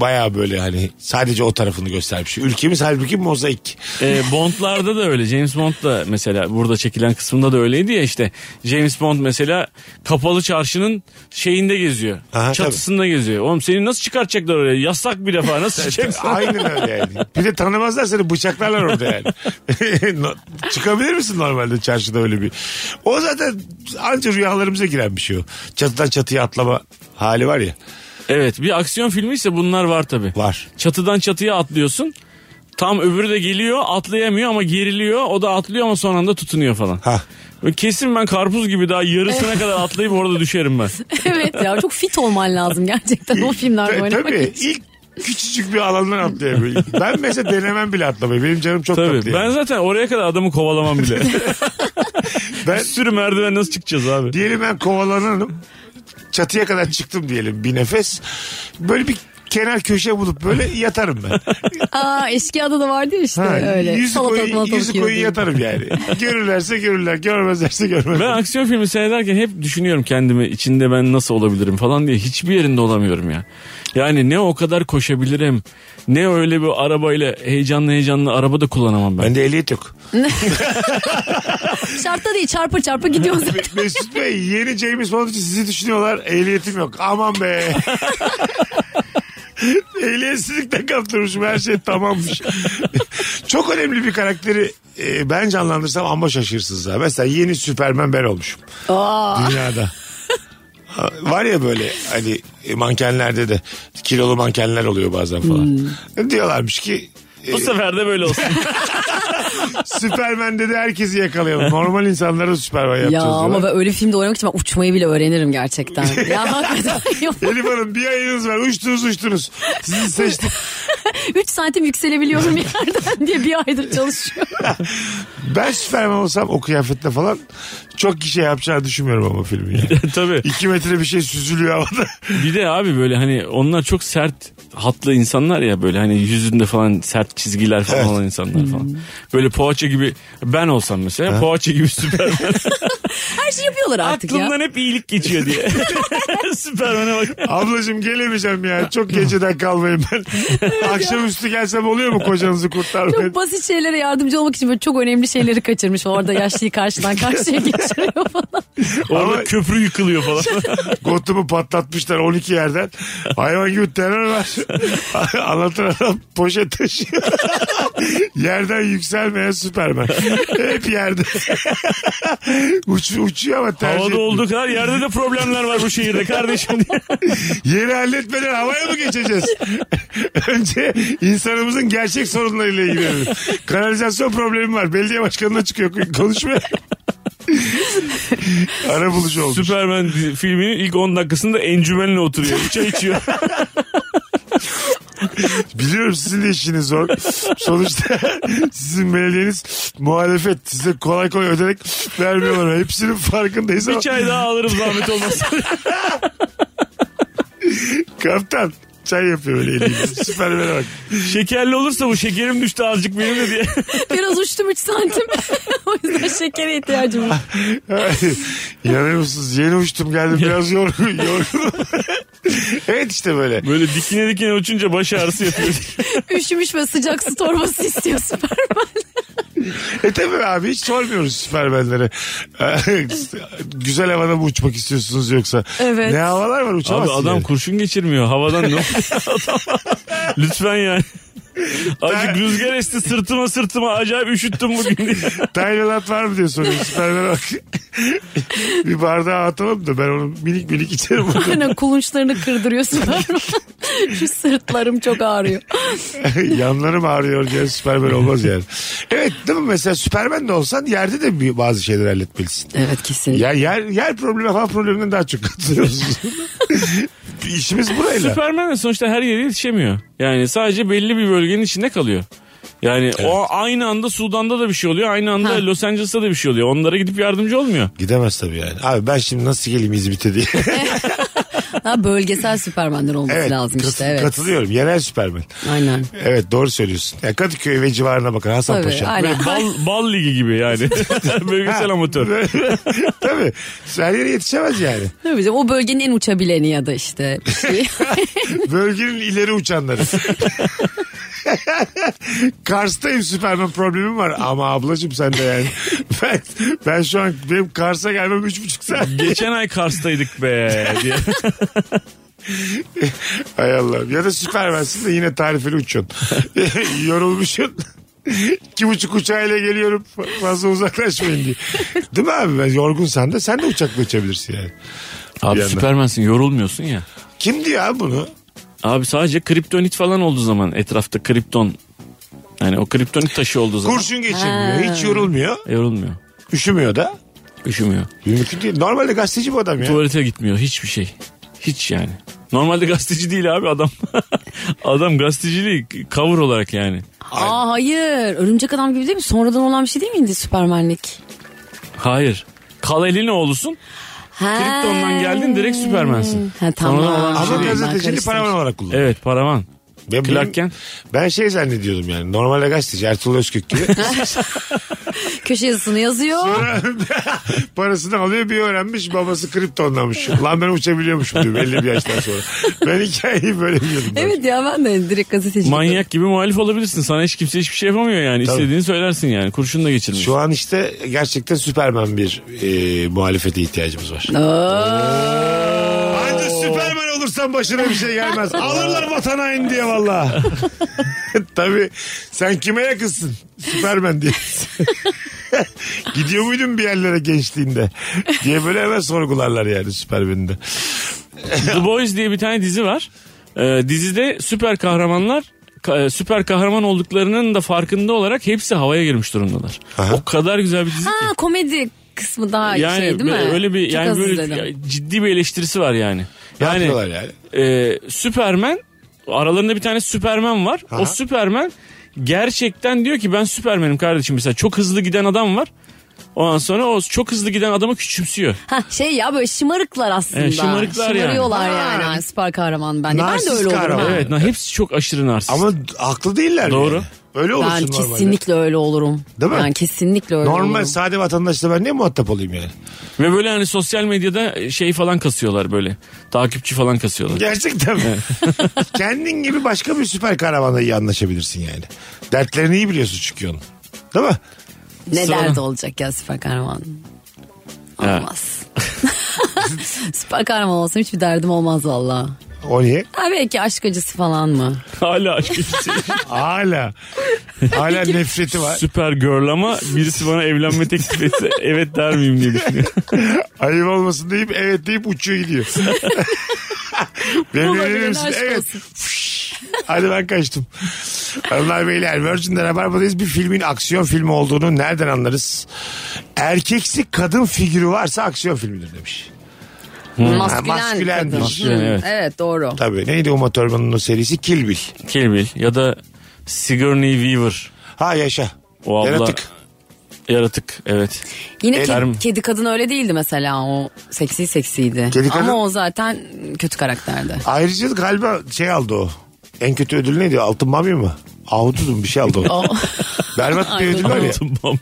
Speaker 3: baya böyle hani sadece o tarafını göstermiş. Ülkemiz halbuki mozaik.
Speaker 5: E, Bond'larda da öyle. James Bond da mesela burada çekilen kısmında da öyleydi ya işte. James Bond mesela kapalı çarşının şeyinde geziyor.
Speaker 3: Aha,
Speaker 5: çatısında geziyor. Oğlum seni nasıl çıkartacaklar oraya? Yasak bir defa nasıl çıkacaksın?
Speaker 3: Şey, Aynen öyle yani. Bir de tanımazlar seni bıçaklarlar orada yani. No- Çıkabilir misin normalde çarşıda öyle bir? O zaten anca rüyalarımıza giren bir şey o. Çatıdan çatıya atlama hali var ya.
Speaker 5: Evet bir aksiyon filmi ise bunlar var tabi.
Speaker 3: Var.
Speaker 5: Çatıdan çatıya atlıyorsun. Tam öbürü de geliyor atlayamıyor ama geriliyor. O da atlıyor ama son anda tutunuyor falan.
Speaker 3: Ha.
Speaker 5: Böyle Kesin ben karpuz gibi daha yarısına kadar atlayıp orada düşerim ben.
Speaker 4: evet ya çok fit olman lazım gerçekten o filmlerde
Speaker 3: Ta-
Speaker 4: oynamak
Speaker 3: tabii
Speaker 4: için.
Speaker 3: ilk küçücük bir alandan atlayabiliyor. Ben mesela denemem bile atlamayı. Benim canım çok
Speaker 5: Tabii
Speaker 3: tatlı.
Speaker 5: ben
Speaker 3: yani.
Speaker 5: zaten oraya kadar adamı kovalamam bile.
Speaker 3: Ben-
Speaker 5: Bir sürü merdiven nasıl çıkacağız abi?
Speaker 3: Diyelim ben kovalanırım. Çatıya kadar çıktım diyelim bir nefes. Böyle bir kenar köşe bulup böyle yatarım ben.
Speaker 4: Aa eşkıyada da vardı ya işte
Speaker 3: Ha,
Speaker 4: öyle.
Speaker 3: yüzü
Speaker 4: Salatalık
Speaker 3: koyu,
Speaker 4: malatalık
Speaker 3: yüzü
Speaker 4: yiyordu.
Speaker 3: koyu yatarım yani. Görürlerse görürler, görmezlerse görmezler.
Speaker 5: Ben aksiyon filmi seyrederken hep düşünüyorum kendimi içinde ben nasıl olabilirim falan diye. Hiçbir yerinde olamıyorum ya. Yani ne o kadar koşabilirim ne öyle bir arabayla heyecanlı heyecanlı arabada kullanamam ben.
Speaker 3: Bende ehliyet yok.
Speaker 4: Şartta değil çarpı çarpı gidiyoruz.
Speaker 3: Mesut Bey yeni James Bond için sizi düşünüyorlar. Ehliyetim yok. Aman be. Ehliyetsizlikten kaptırmışım her şey tamammış. Çok önemli bir karakteri e, ben canlandırsam amma şaşırsınız ha. Mesela yeni Süpermen ben olmuşum
Speaker 4: Aa,
Speaker 3: dünyada. Ha, Var ya böyle hani e, mankenlerde de kilolu mankenler oluyor bazen falan.
Speaker 4: Hmm.
Speaker 3: Diyorlarmış ki e,
Speaker 5: Bu sefer de böyle olsun.
Speaker 3: Süpermen'de de herkesi yakalayalım. Normal insanlara da Süpermen yapacağız
Speaker 4: ya ama
Speaker 3: diyorlar.
Speaker 4: ben öyle filmde oynamak için ben uçmayı bile öğrenirim gerçekten. ya hakikaten yok.
Speaker 3: Elif Hanım bir ayınız var. Uçtunuz uçtunuz. Sizi seçtik.
Speaker 4: 3 santim yükselebiliyorum bir yerden diye bir aydır çalışıyorum.
Speaker 3: Ben Süperman olsam o kıyafetle falan çok kişi yapacağını düşünmüyorum ama filmi. Yani.
Speaker 5: Tabii.
Speaker 3: İki metre bir şey süzülüyor havada.
Speaker 5: Bir de abi böyle hani onlar çok sert hatlı insanlar ya böyle hani yüzünde falan sert çizgiler falan
Speaker 3: Evet.
Speaker 5: olan insanlar
Speaker 4: Hmm.
Speaker 5: falan. Böyle poğaça gibi ben olsam mesela poğaça gibi süper.
Speaker 4: Her şey yapıyorlar artık ya.
Speaker 5: Aklımdan hep iyilik geçiyor diye. Süpermen'e bak.
Speaker 3: Ablacığım gelemeyeceğim ya. Çok geceden kalmayın ben. Akşamüstü gelsem oluyor mu kocanızı kurtarmayın?
Speaker 4: Çok basit şeylere yardımcı olmak için böyle çok önemli şeyleri kaçırmış. Orada yaşlıyı karşıdan karşıya geçiriyor falan.
Speaker 5: Orada
Speaker 3: Ama-
Speaker 5: köprü yıkılıyor falan.
Speaker 3: Gotumu patlatmışlar 12 yerden. Hayvan gibi terör var. Anlatan adam poşet taşıyor. Yerden yükselmeyen Süpermen. Hep yerde. Uç, uçuyor ama tercih
Speaker 5: Havada
Speaker 3: etmiyor.
Speaker 5: olduğu kadar yerde de problemler var bu şehirde kardeşim diye.
Speaker 3: Yeri halletmeden havaya mı geçeceğiz? Önce insanımızın gerçek sorunlarıyla ilgilenelim. Kanalizasyon problemi var. Belediye başkanına çıkıyor konuşmaya. Ara bulucu olmuş.
Speaker 5: Süpermen dizi- filminin ilk 10 dakikasında encümenle oturuyor. Çay içiyor.
Speaker 3: Biliyorum sizin de işiniz zor. Sonuçta sizin belediyeniz muhalefet. Size kolay kolay ödenek vermiyorlar. Hepsinin farkındayız ama
Speaker 5: Bir çay daha alırım zahmet olmasa.
Speaker 3: kaptan Çay yapıyor böyle eliyle. Süpermen'e bak.
Speaker 5: Şekerli olursa bu şekerim düştü azıcık benim de diye.
Speaker 4: Biraz uçtum 3 santim. o yüzden şekere ihtiyacım var.
Speaker 3: İnanır mısınız? Yeni uçtum geldim biraz yorgun. yorgun. evet işte böyle.
Speaker 5: Böyle dikine dikine uçunca baş ağrısı yapıyor.
Speaker 4: Üşümüş ve sıcak su torbası istiyor Süperman.
Speaker 3: E tabii abi hiç sormuyoruz süpermenlere. Güzel havada mı uçmak istiyorsunuz yoksa?
Speaker 4: Evet.
Speaker 3: Ne havalar var
Speaker 5: Abi
Speaker 3: uçamazsın.
Speaker 5: adam
Speaker 3: yani.
Speaker 5: kurşun geçirmiyor havadan ne oluyor adama? Lütfen yani. Acık rüzgar esti sırtıma sırtıma acayip üşüttüm bugün diye.
Speaker 3: Taylanat var mı diye soruyor süpermene bak. bir bardağa atalım da ben onu minik minik içerim.
Speaker 4: Aynen kulunçlarını kırdırıyor Süperman. Şu sırtlarım çok ağrıyor.
Speaker 3: Yanlarım ağrıyor diye süpermen olmaz yani. Evet değil mi mesela süpermen de olsan yerde de bir- bazı şeyleri halletmelisin.
Speaker 4: Evet kesinlikle.
Speaker 3: Ya yer, yer problemi hava probleminden daha çok katılıyorsunuz. İşimiz burayla.
Speaker 5: Süpermen de sonuçta her yere yetişemiyor. Yani sadece belli bir bölgenin içinde kalıyor. Yani o aynı anda Sudan'da da bir şey oluyor. Aynı anda
Speaker 4: Ha.
Speaker 5: Los Angeles'ta da bir şey oluyor. Onlara gidip yardımcı olmuyor.
Speaker 3: Gidemez tabii yani. Abi ben şimdi nasıl geleyim İzmit'e diye.
Speaker 4: Ha, bölgesel Süpermenler olması
Speaker 3: evet,
Speaker 4: lazım
Speaker 3: kat-
Speaker 4: işte. Evet.
Speaker 3: Katılıyorum. Yerel süpermen.
Speaker 4: Aynen.
Speaker 3: Evet doğru söylüyorsun. Ya Kadıköy ve civarına bakın Hasan
Speaker 4: Tabii,
Speaker 3: Paşa.
Speaker 4: aynen.
Speaker 5: Böyle bal, bal ligi gibi yani. Bölgesel amatör.
Speaker 3: tabii. Her yere yetişemez yani.
Speaker 4: Ne bileyim, o bölgenin en uçabileni ya da işte bir şey.
Speaker 3: Bölgenin ileri uçanları. Kars'tayım Süperman problemim var. Ama ablacığım sen de yani. Ben, ben şu an benim Kars'a gelmem üç buçuk saat.
Speaker 5: Geçen ay Kars'taydık be diye.
Speaker 3: Hay Allah. Ya da Süpermensin de yine tarifeli uçuyorsun. Yorulmuşsun. İki buçuk uçağıyla geliyorum. Fazla uzaklaşmayın diye. Değil mi abi? Ben yorgunsan da sen de uçakla uçabilirsin yani.
Speaker 5: Abi
Speaker 3: yandan.
Speaker 5: süpermensin yorulmuyorsun ya.
Speaker 3: Kim diyor abi bunu?
Speaker 5: Abi sadece kriptonit falan olduğu zaman etrafta kripton. Yani o kriptonit taşı olduğu zaman
Speaker 3: Kurşun geçirmiyor. Hiç yorulmuyor.
Speaker 5: yorulmuyor.
Speaker 3: Üşümüyor da.
Speaker 5: Üşümüyor.
Speaker 3: Mümkün değil. Normalde gazeteci bu adam ya.
Speaker 5: Tuvalete gitmiyor hiçbir şey. Hiç yani. Normalde gazeteci değil abi adam. adam gazeteciliği cover olarak yani.
Speaker 4: Aa hayır. Örümcek adam gibi değil mi? Sonradan olan bir şey değil miydi Süpermenlik?
Speaker 5: Hayır. Kalelin oğlusun.
Speaker 4: Ha.
Speaker 5: Kripton'dan geldin direkt Süpermensin.
Speaker 4: Ha, tamam.
Speaker 5: Sonradan olan bir
Speaker 3: Ama
Speaker 5: şey değil.
Speaker 3: gazeteciliği paravan olarak kullanıyor.
Speaker 5: Evet paravan.
Speaker 3: Ben,
Speaker 5: Clark Kent.
Speaker 3: ben şey zannediyordum yani. Normalde gazeteci Ertuğrul Özkök gibi.
Speaker 4: Köşe yazısını yazıyor.
Speaker 3: Parasını alıyor bir öğrenmiş babası kriptonlamış. Lan ben uçabiliyormuşum diyor belli bir yaştan sonra. Ben hikayeyi böyle biliyordum. ben.
Speaker 4: evet ya ben de direkt gazeteci.
Speaker 5: Manyak gibi muhalif olabilirsin. Sana hiç kimse hiçbir şey yapamıyor yani. İstediğini söylersin yani. Kurşun da geçirmiş.
Speaker 3: Şu an işte gerçekten Süperman bir e, muhalefete ihtiyacımız var. Hadi Süperman olursan başına bir şey gelmez. Alırlar vatan hain diye valla. Tabii sen kime yakınsın? Süperman diye. Gidiyor muydun bir yerlere gençliğinde? diye böyle hemen sorgularlar yani Süpermen'i de.
Speaker 5: The Boys diye bir tane dizi var. Ee, dizide süper kahramanlar ka- e, süper kahraman olduklarının da farkında olarak hepsi havaya girmiş durumdalar.
Speaker 3: Aha.
Speaker 5: O kadar güzel bir dizi ki.
Speaker 4: Ha komedi kısmı daha
Speaker 5: Yani
Speaker 4: şey değil mi?
Speaker 5: böyle- öyle bir
Speaker 4: Çok
Speaker 5: yani
Speaker 4: az
Speaker 5: böyle
Speaker 4: izledim.
Speaker 5: ya- ciddi bir eleştirisi var yani.
Speaker 3: Ne
Speaker 5: Yani
Speaker 3: yapıyorlar yani?
Speaker 5: e, Süpermen aralarında bir tane Süpermen var.
Speaker 3: Aha.
Speaker 5: O Süpermen gerçekten diyor ki ben Süpermenim kardeşim mesela çok hızlı giden adam var. Ondan sonra o çok hızlı giden adamı küçümsüyor.
Speaker 4: Ha, şey ya böyle şımarıklar aslında.
Speaker 5: Evet, şımarıklar yani.
Speaker 4: Şımarıyorlar
Speaker 3: Ha.
Speaker 4: yani. yani süper kahraman ben. de. Ben de
Speaker 3: Narsist
Speaker 4: öyle olurum.
Speaker 3: kahraman.
Speaker 4: ha.
Speaker 5: Evet, na hepsi çok aşırı narsist.
Speaker 3: Ama haklı değiller
Speaker 5: Doğru.
Speaker 3: yani. Öyle olursun
Speaker 4: Ben
Speaker 3: normalde.
Speaker 4: kesinlikle öyle olurum.
Speaker 3: Değil mi?
Speaker 4: Ben kesinlikle öyle
Speaker 3: Normal
Speaker 4: olurum.
Speaker 3: sade vatandaşla ben niye muhatap olayım yani?
Speaker 5: Ve böyle hani sosyal medyada şey falan kasıyorlar böyle. Takipçi falan kasıyorlar.
Speaker 3: Gerçekten mi? Kendin gibi başka bir süper kahramanla iyi anlaşabilirsin yani. Dertlerini iyi biliyorsun çünkü onun. Değil mi?
Speaker 4: Ne
Speaker 5: Sonra-
Speaker 4: derdi olacak ya süper kahraman?
Speaker 5: Ha.
Speaker 4: Olmaz. süper kahraman olsam hiçbir derdim olmaz valla.
Speaker 3: O niye?
Speaker 4: Ha belki aşk acısı falan mı?
Speaker 5: Hala şey. aşk acısı.
Speaker 3: Hala. Hala nefreti var.
Speaker 5: Süper girl ama birisi bana evlenme teklif etse evet der miyim diye düşünüyor.
Speaker 3: Ayıp olmasın deyip evet deyip uçuyor gidiyor. Benim
Speaker 4: Olur,
Speaker 3: evlenir
Speaker 4: benim
Speaker 3: misin?
Speaker 4: aşk
Speaker 3: Evet.
Speaker 4: olsun.
Speaker 3: Fış. Hadi ben kaçtım. Hanımlar beyler Virgin'de Rabarba'dayız. Bir filmin aksiyon filmi olduğunu nereden anlarız? Erkeksi kadın figürü varsa aksiyon filmidir demiş.
Speaker 4: Maskülen,
Speaker 3: maskülendir.
Speaker 4: kadın.
Speaker 5: Maskülen,
Speaker 4: Hı,
Speaker 5: evet.
Speaker 4: evet. doğru.
Speaker 3: Tabii neydi Uma Thurman'ın o serisi? Kill Bill.
Speaker 5: Kill Bill ya da Sigourney Weaver.
Speaker 3: Ha yaşa.
Speaker 5: O abla
Speaker 3: Yaratık.
Speaker 5: Yaratık evet.
Speaker 4: Yine
Speaker 5: El-
Speaker 4: ke-
Speaker 5: Term.
Speaker 4: kedi kadın öyle değildi mesela o seksi seksiydi.
Speaker 3: Kedi kadın-
Speaker 4: Ama o zaten kötü karakterdi.
Speaker 3: Ayrıca galiba şey aldı o. En kötü ödül neydi? Altın mami mi? Ahududu mu? Bir şey aldı o.
Speaker 4: O-
Speaker 3: Berbat bir
Speaker 4: Ay,
Speaker 3: ödül var ya.
Speaker 5: Altın bamya.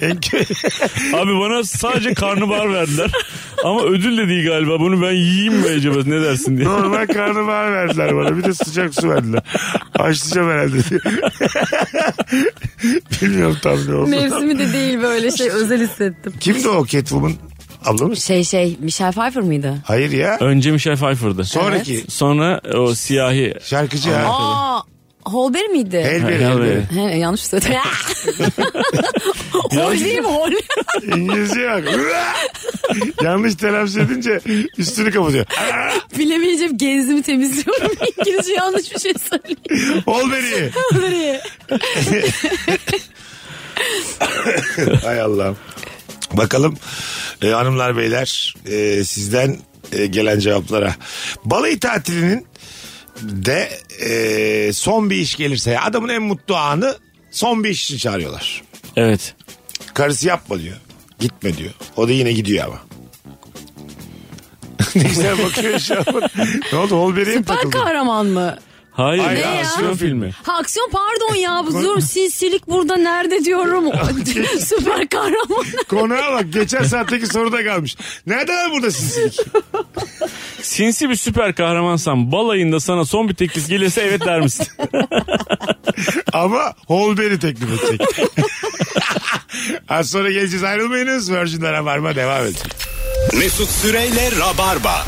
Speaker 3: En kö-
Speaker 5: Abi bana sadece karnabahar verdiler. Ama ödül de değil galiba. Bunu ben yiyeyim mi acaba ne dersin diye.
Speaker 3: Normal karnabahar verdiler bana. Bir de sıcak su verdiler. Açlayacağım herhalde diye. Bilmiyorum tam ne oldu.
Speaker 4: Mevsimi de değil böyle şey özel hissettim.
Speaker 3: Kimdi o Catwoman? Abla mı?
Speaker 4: Şey şey Michelle Pfeiffer mıydı?
Speaker 3: Hayır ya.
Speaker 5: Önce Michelle Pfeiffer'dı.
Speaker 3: Sonraki
Speaker 5: Sonra o siyahi.
Speaker 3: şarkıcı ya.
Speaker 4: Aa Holberg miydi?
Speaker 3: Elberi.
Speaker 5: Halle
Speaker 3: Elberi.
Speaker 5: Berry.
Speaker 4: He, yanlış söyledim. hol değil mi hol?
Speaker 3: İngilizce bak. Yanlış telaffuz edince üstünü kapatıyor.
Speaker 4: Bilemeyeceğim genzimi temizliyorum. İngilizce yanlış bir şey söyleyeyim.
Speaker 3: Ol beni.
Speaker 4: Nereye?
Speaker 3: Hay Allah'ım. Bakalım e, hanımlar beyler e, sizden e, gelen cevaplara. Balayı tatilinin de e, son bir iş gelirse adamın en mutlu anı son bir iş için çağırıyorlar.
Speaker 5: Evet.
Speaker 3: Karısı yapma diyor. Gitme diyor. O da yine gidiyor ama. ne güzel bakıyor şu an. ne oldu? Holberg'e mi
Speaker 4: Ben
Speaker 3: takıldın?
Speaker 4: kahraman mı?
Speaker 5: Hayır.
Speaker 3: Hayır,
Speaker 5: ya,
Speaker 3: ne ya?
Speaker 5: aksiyon filmi.
Speaker 4: Ha aksiyon pardon ya bu dur sinsilik burada nerede diyorum. Süper kahraman.
Speaker 3: Konuya bak. Geçen saatteki soruda kalmış. Nereden burada sizlik?
Speaker 5: Sinsi bir süper kahramansan balayında sana son bir teklif gelirse evet der misin?
Speaker 3: Ama Holberry teklif edecek. Az sonra geleceğiz ayrılmayınız. Virgin'de Rabarba devam edecek.
Speaker 2: Mesut Süreyle Rabarba.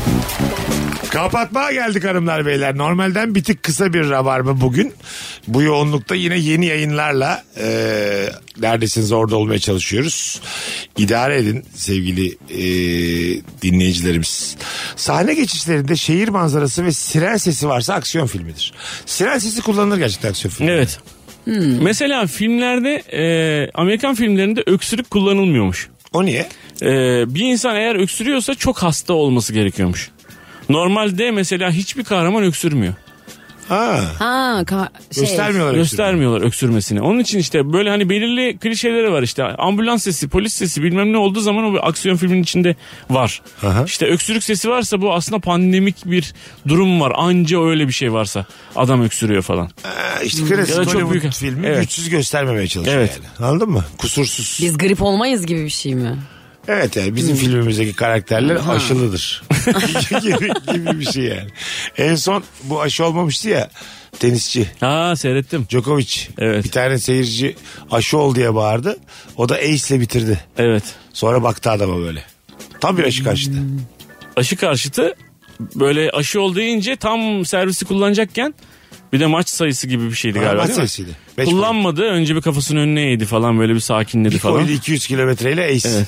Speaker 3: Kapatmaya geldik hanımlar beyler. Normalden bir tık kısa bir Rabarba bugün. Bu yoğunlukta yine yeni yayınlarla e, neredesiniz orada olmaya çalışıyoruz. İdare edin sevgili e, dinleyicilerimiz. Sahne geçişlerinde şehir manzarası ve siren sesi varsa aksiyon filmidir. Siren sesi kullanılır gerçekten aksiyon filminde.
Speaker 5: evet. Mesela filmlerde e, Amerikan filmlerinde öksürük kullanılmıyormuş.
Speaker 3: O niye?
Speaker 5: E, bir insan eğer öksürüyorsa çok hasta olması gerekiyormuş. Normalde mesela hiçbir kahraman öksürmüyor.
Speaker 3: Ha,
Speaker 4: Ha ka- şey.
Speaker 3: göstermiyorlar.
Speaker 5: Göstermiyorlar öksürmesini. Onun için işte böyle hani belirli klişeleri var işte. Ambulans sesi, polis sesi bilmem ne olduğu zaman o bir aksiyon filminin içinde var.
Speaker 3: Aha.
Speaker 5: İşte öksürük sesi varsa bu aslında pandemik bir durum var. Anca öyle bir şey varsa adam öksürüyor falan.
Speaker 3: Ha, İşte klasik
Speaker 5: Ya da çok
Speaker 3: Hollywood
Speaker 5: büyük-
Speaker 3: filmi
Speaker 5: Evet.
Speaker 3: güçsüz göstermemeye çalışıyor
Speaker 5: Evet.
Speaker 3: yani. Anladın mı? Kusursuz.
Speaker 4: Biz grip olmayız gibi bir şey mi?
Speaker 3: Evet yani bizim
Speaker 5: Hmm.
Speaker 3: filmimizdeki karakterler aşılıdır. gibi, gibi bir şey yani. En son bu aşı olmamıştı ya tenisçi.
Speaker 5: Aa seyrettim.
Speaker 3: Djokovic.
Speaker 5: Evet.
Speaker 3: Bir tane seyirci aşı ol diye bağırdı. O da ace'le bitirdi.
Speaker 5: Evet.
Speaker 3: Sonra baktı adama böyle. Tam bir aşı karşıtı.
Speaker 5: Aşı karşıtı böyle aşı ol deyince tam servisi kullanacakken bir de maç sayısı gibi bir şeydi galiba.
Speaker 3: Galiba
Speaker 5: değil mi?
Speaker 3: sesiydi. Beş boy.
Speaker 5: Kullanmadı. Önce bir kafasının önüne eğdi falan böyle bir sakinledi
Speaker 3: Bir
Speaker 5: falan.
Speaker 3: koydu 200 kilometreyle ace.
Speaker 5: Evet.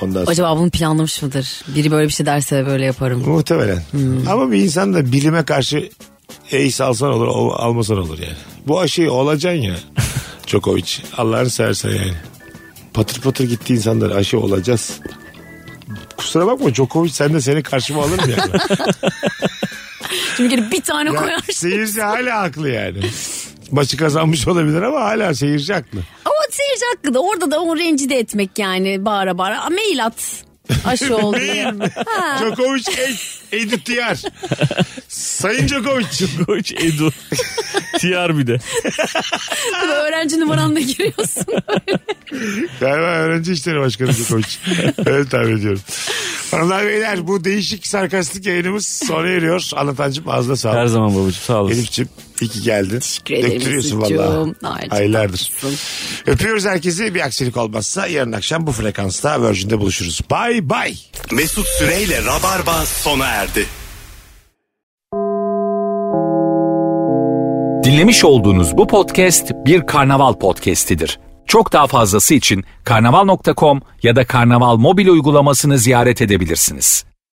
Speaker 3: Ondan sonra.
Speaker 4: Acaba bunu planlamış mıdır? Biri böyle bir şey derse böyle yaparım.
Speaker 3: Muhtemelen.
Speaker 4: Hmm.
Speaker 3: Ama bir insan da bilime karşı ace alsan olur ol- almasan olur yani. Bu aşıyı olacaksın ya. Djokovic. Allah'ını seversen yani. Patır patır gitti insanlar aşı olacağız. Kusura bakma Djokovic sen de seni karşıma alırım yani.
Speaker 4: Şimdi gelip bir tane
Speaker 3: ya,
Speaker 4: koyarsın.
Speaker 3: seyirci hala haklı yani. Maçı kazanmış olabilir ama hala seyirci haklı.
Speaker 4: Ama seyirci hakkı da orada da onu rencide etmek yani bağıra bağıra. Aa, Mail at. Aşı oldu.
Speaker 3: Mail mi?
Speaker 4: Ha.
Speaker 3: Djokovic ed- editiyar. Sayın Djokovic.
Speaker 5: Koç Edu. TR bir de.
Speaker 4: Böyle öğrenci numaranla giriyorsun.
Speaker 3: Galiba öğrenci işleri başkanı Djokovic. Öyle tahmin ediyorum. Hanımlar beyler bu değişik sarkastik yayınımız sona eriyor. Anlatancım ağzına
Speaker 5: Her
Speaker 3: sağlık.
Speaker 5: zaman babacığım sağ olasın.
Speaker 3: Elif'ciğim iyi ki geldin. Teşekkür
Speaker 4: ederim
Speaker 3: Döktürüyorsun valla.
Speaker 4: Mesut'cuğum. Ay, çok
Speaker 3: Aylardır. Öpüyoruz herkesi. Bir aksilik olmazsa yarın akşam bu frekansta Virgin'de buluşuruz. Bay bay.
Speaker 2: Mesut Süreyle Rabarba sona erdi.
Speaker 1: Dinlemiş olduğunuz bu podcast bir karnaval podcastidir. Çok daha fazlası için karnaval.com ya da karnaval mobil uygulamasını ziyaret edebilirsiniz.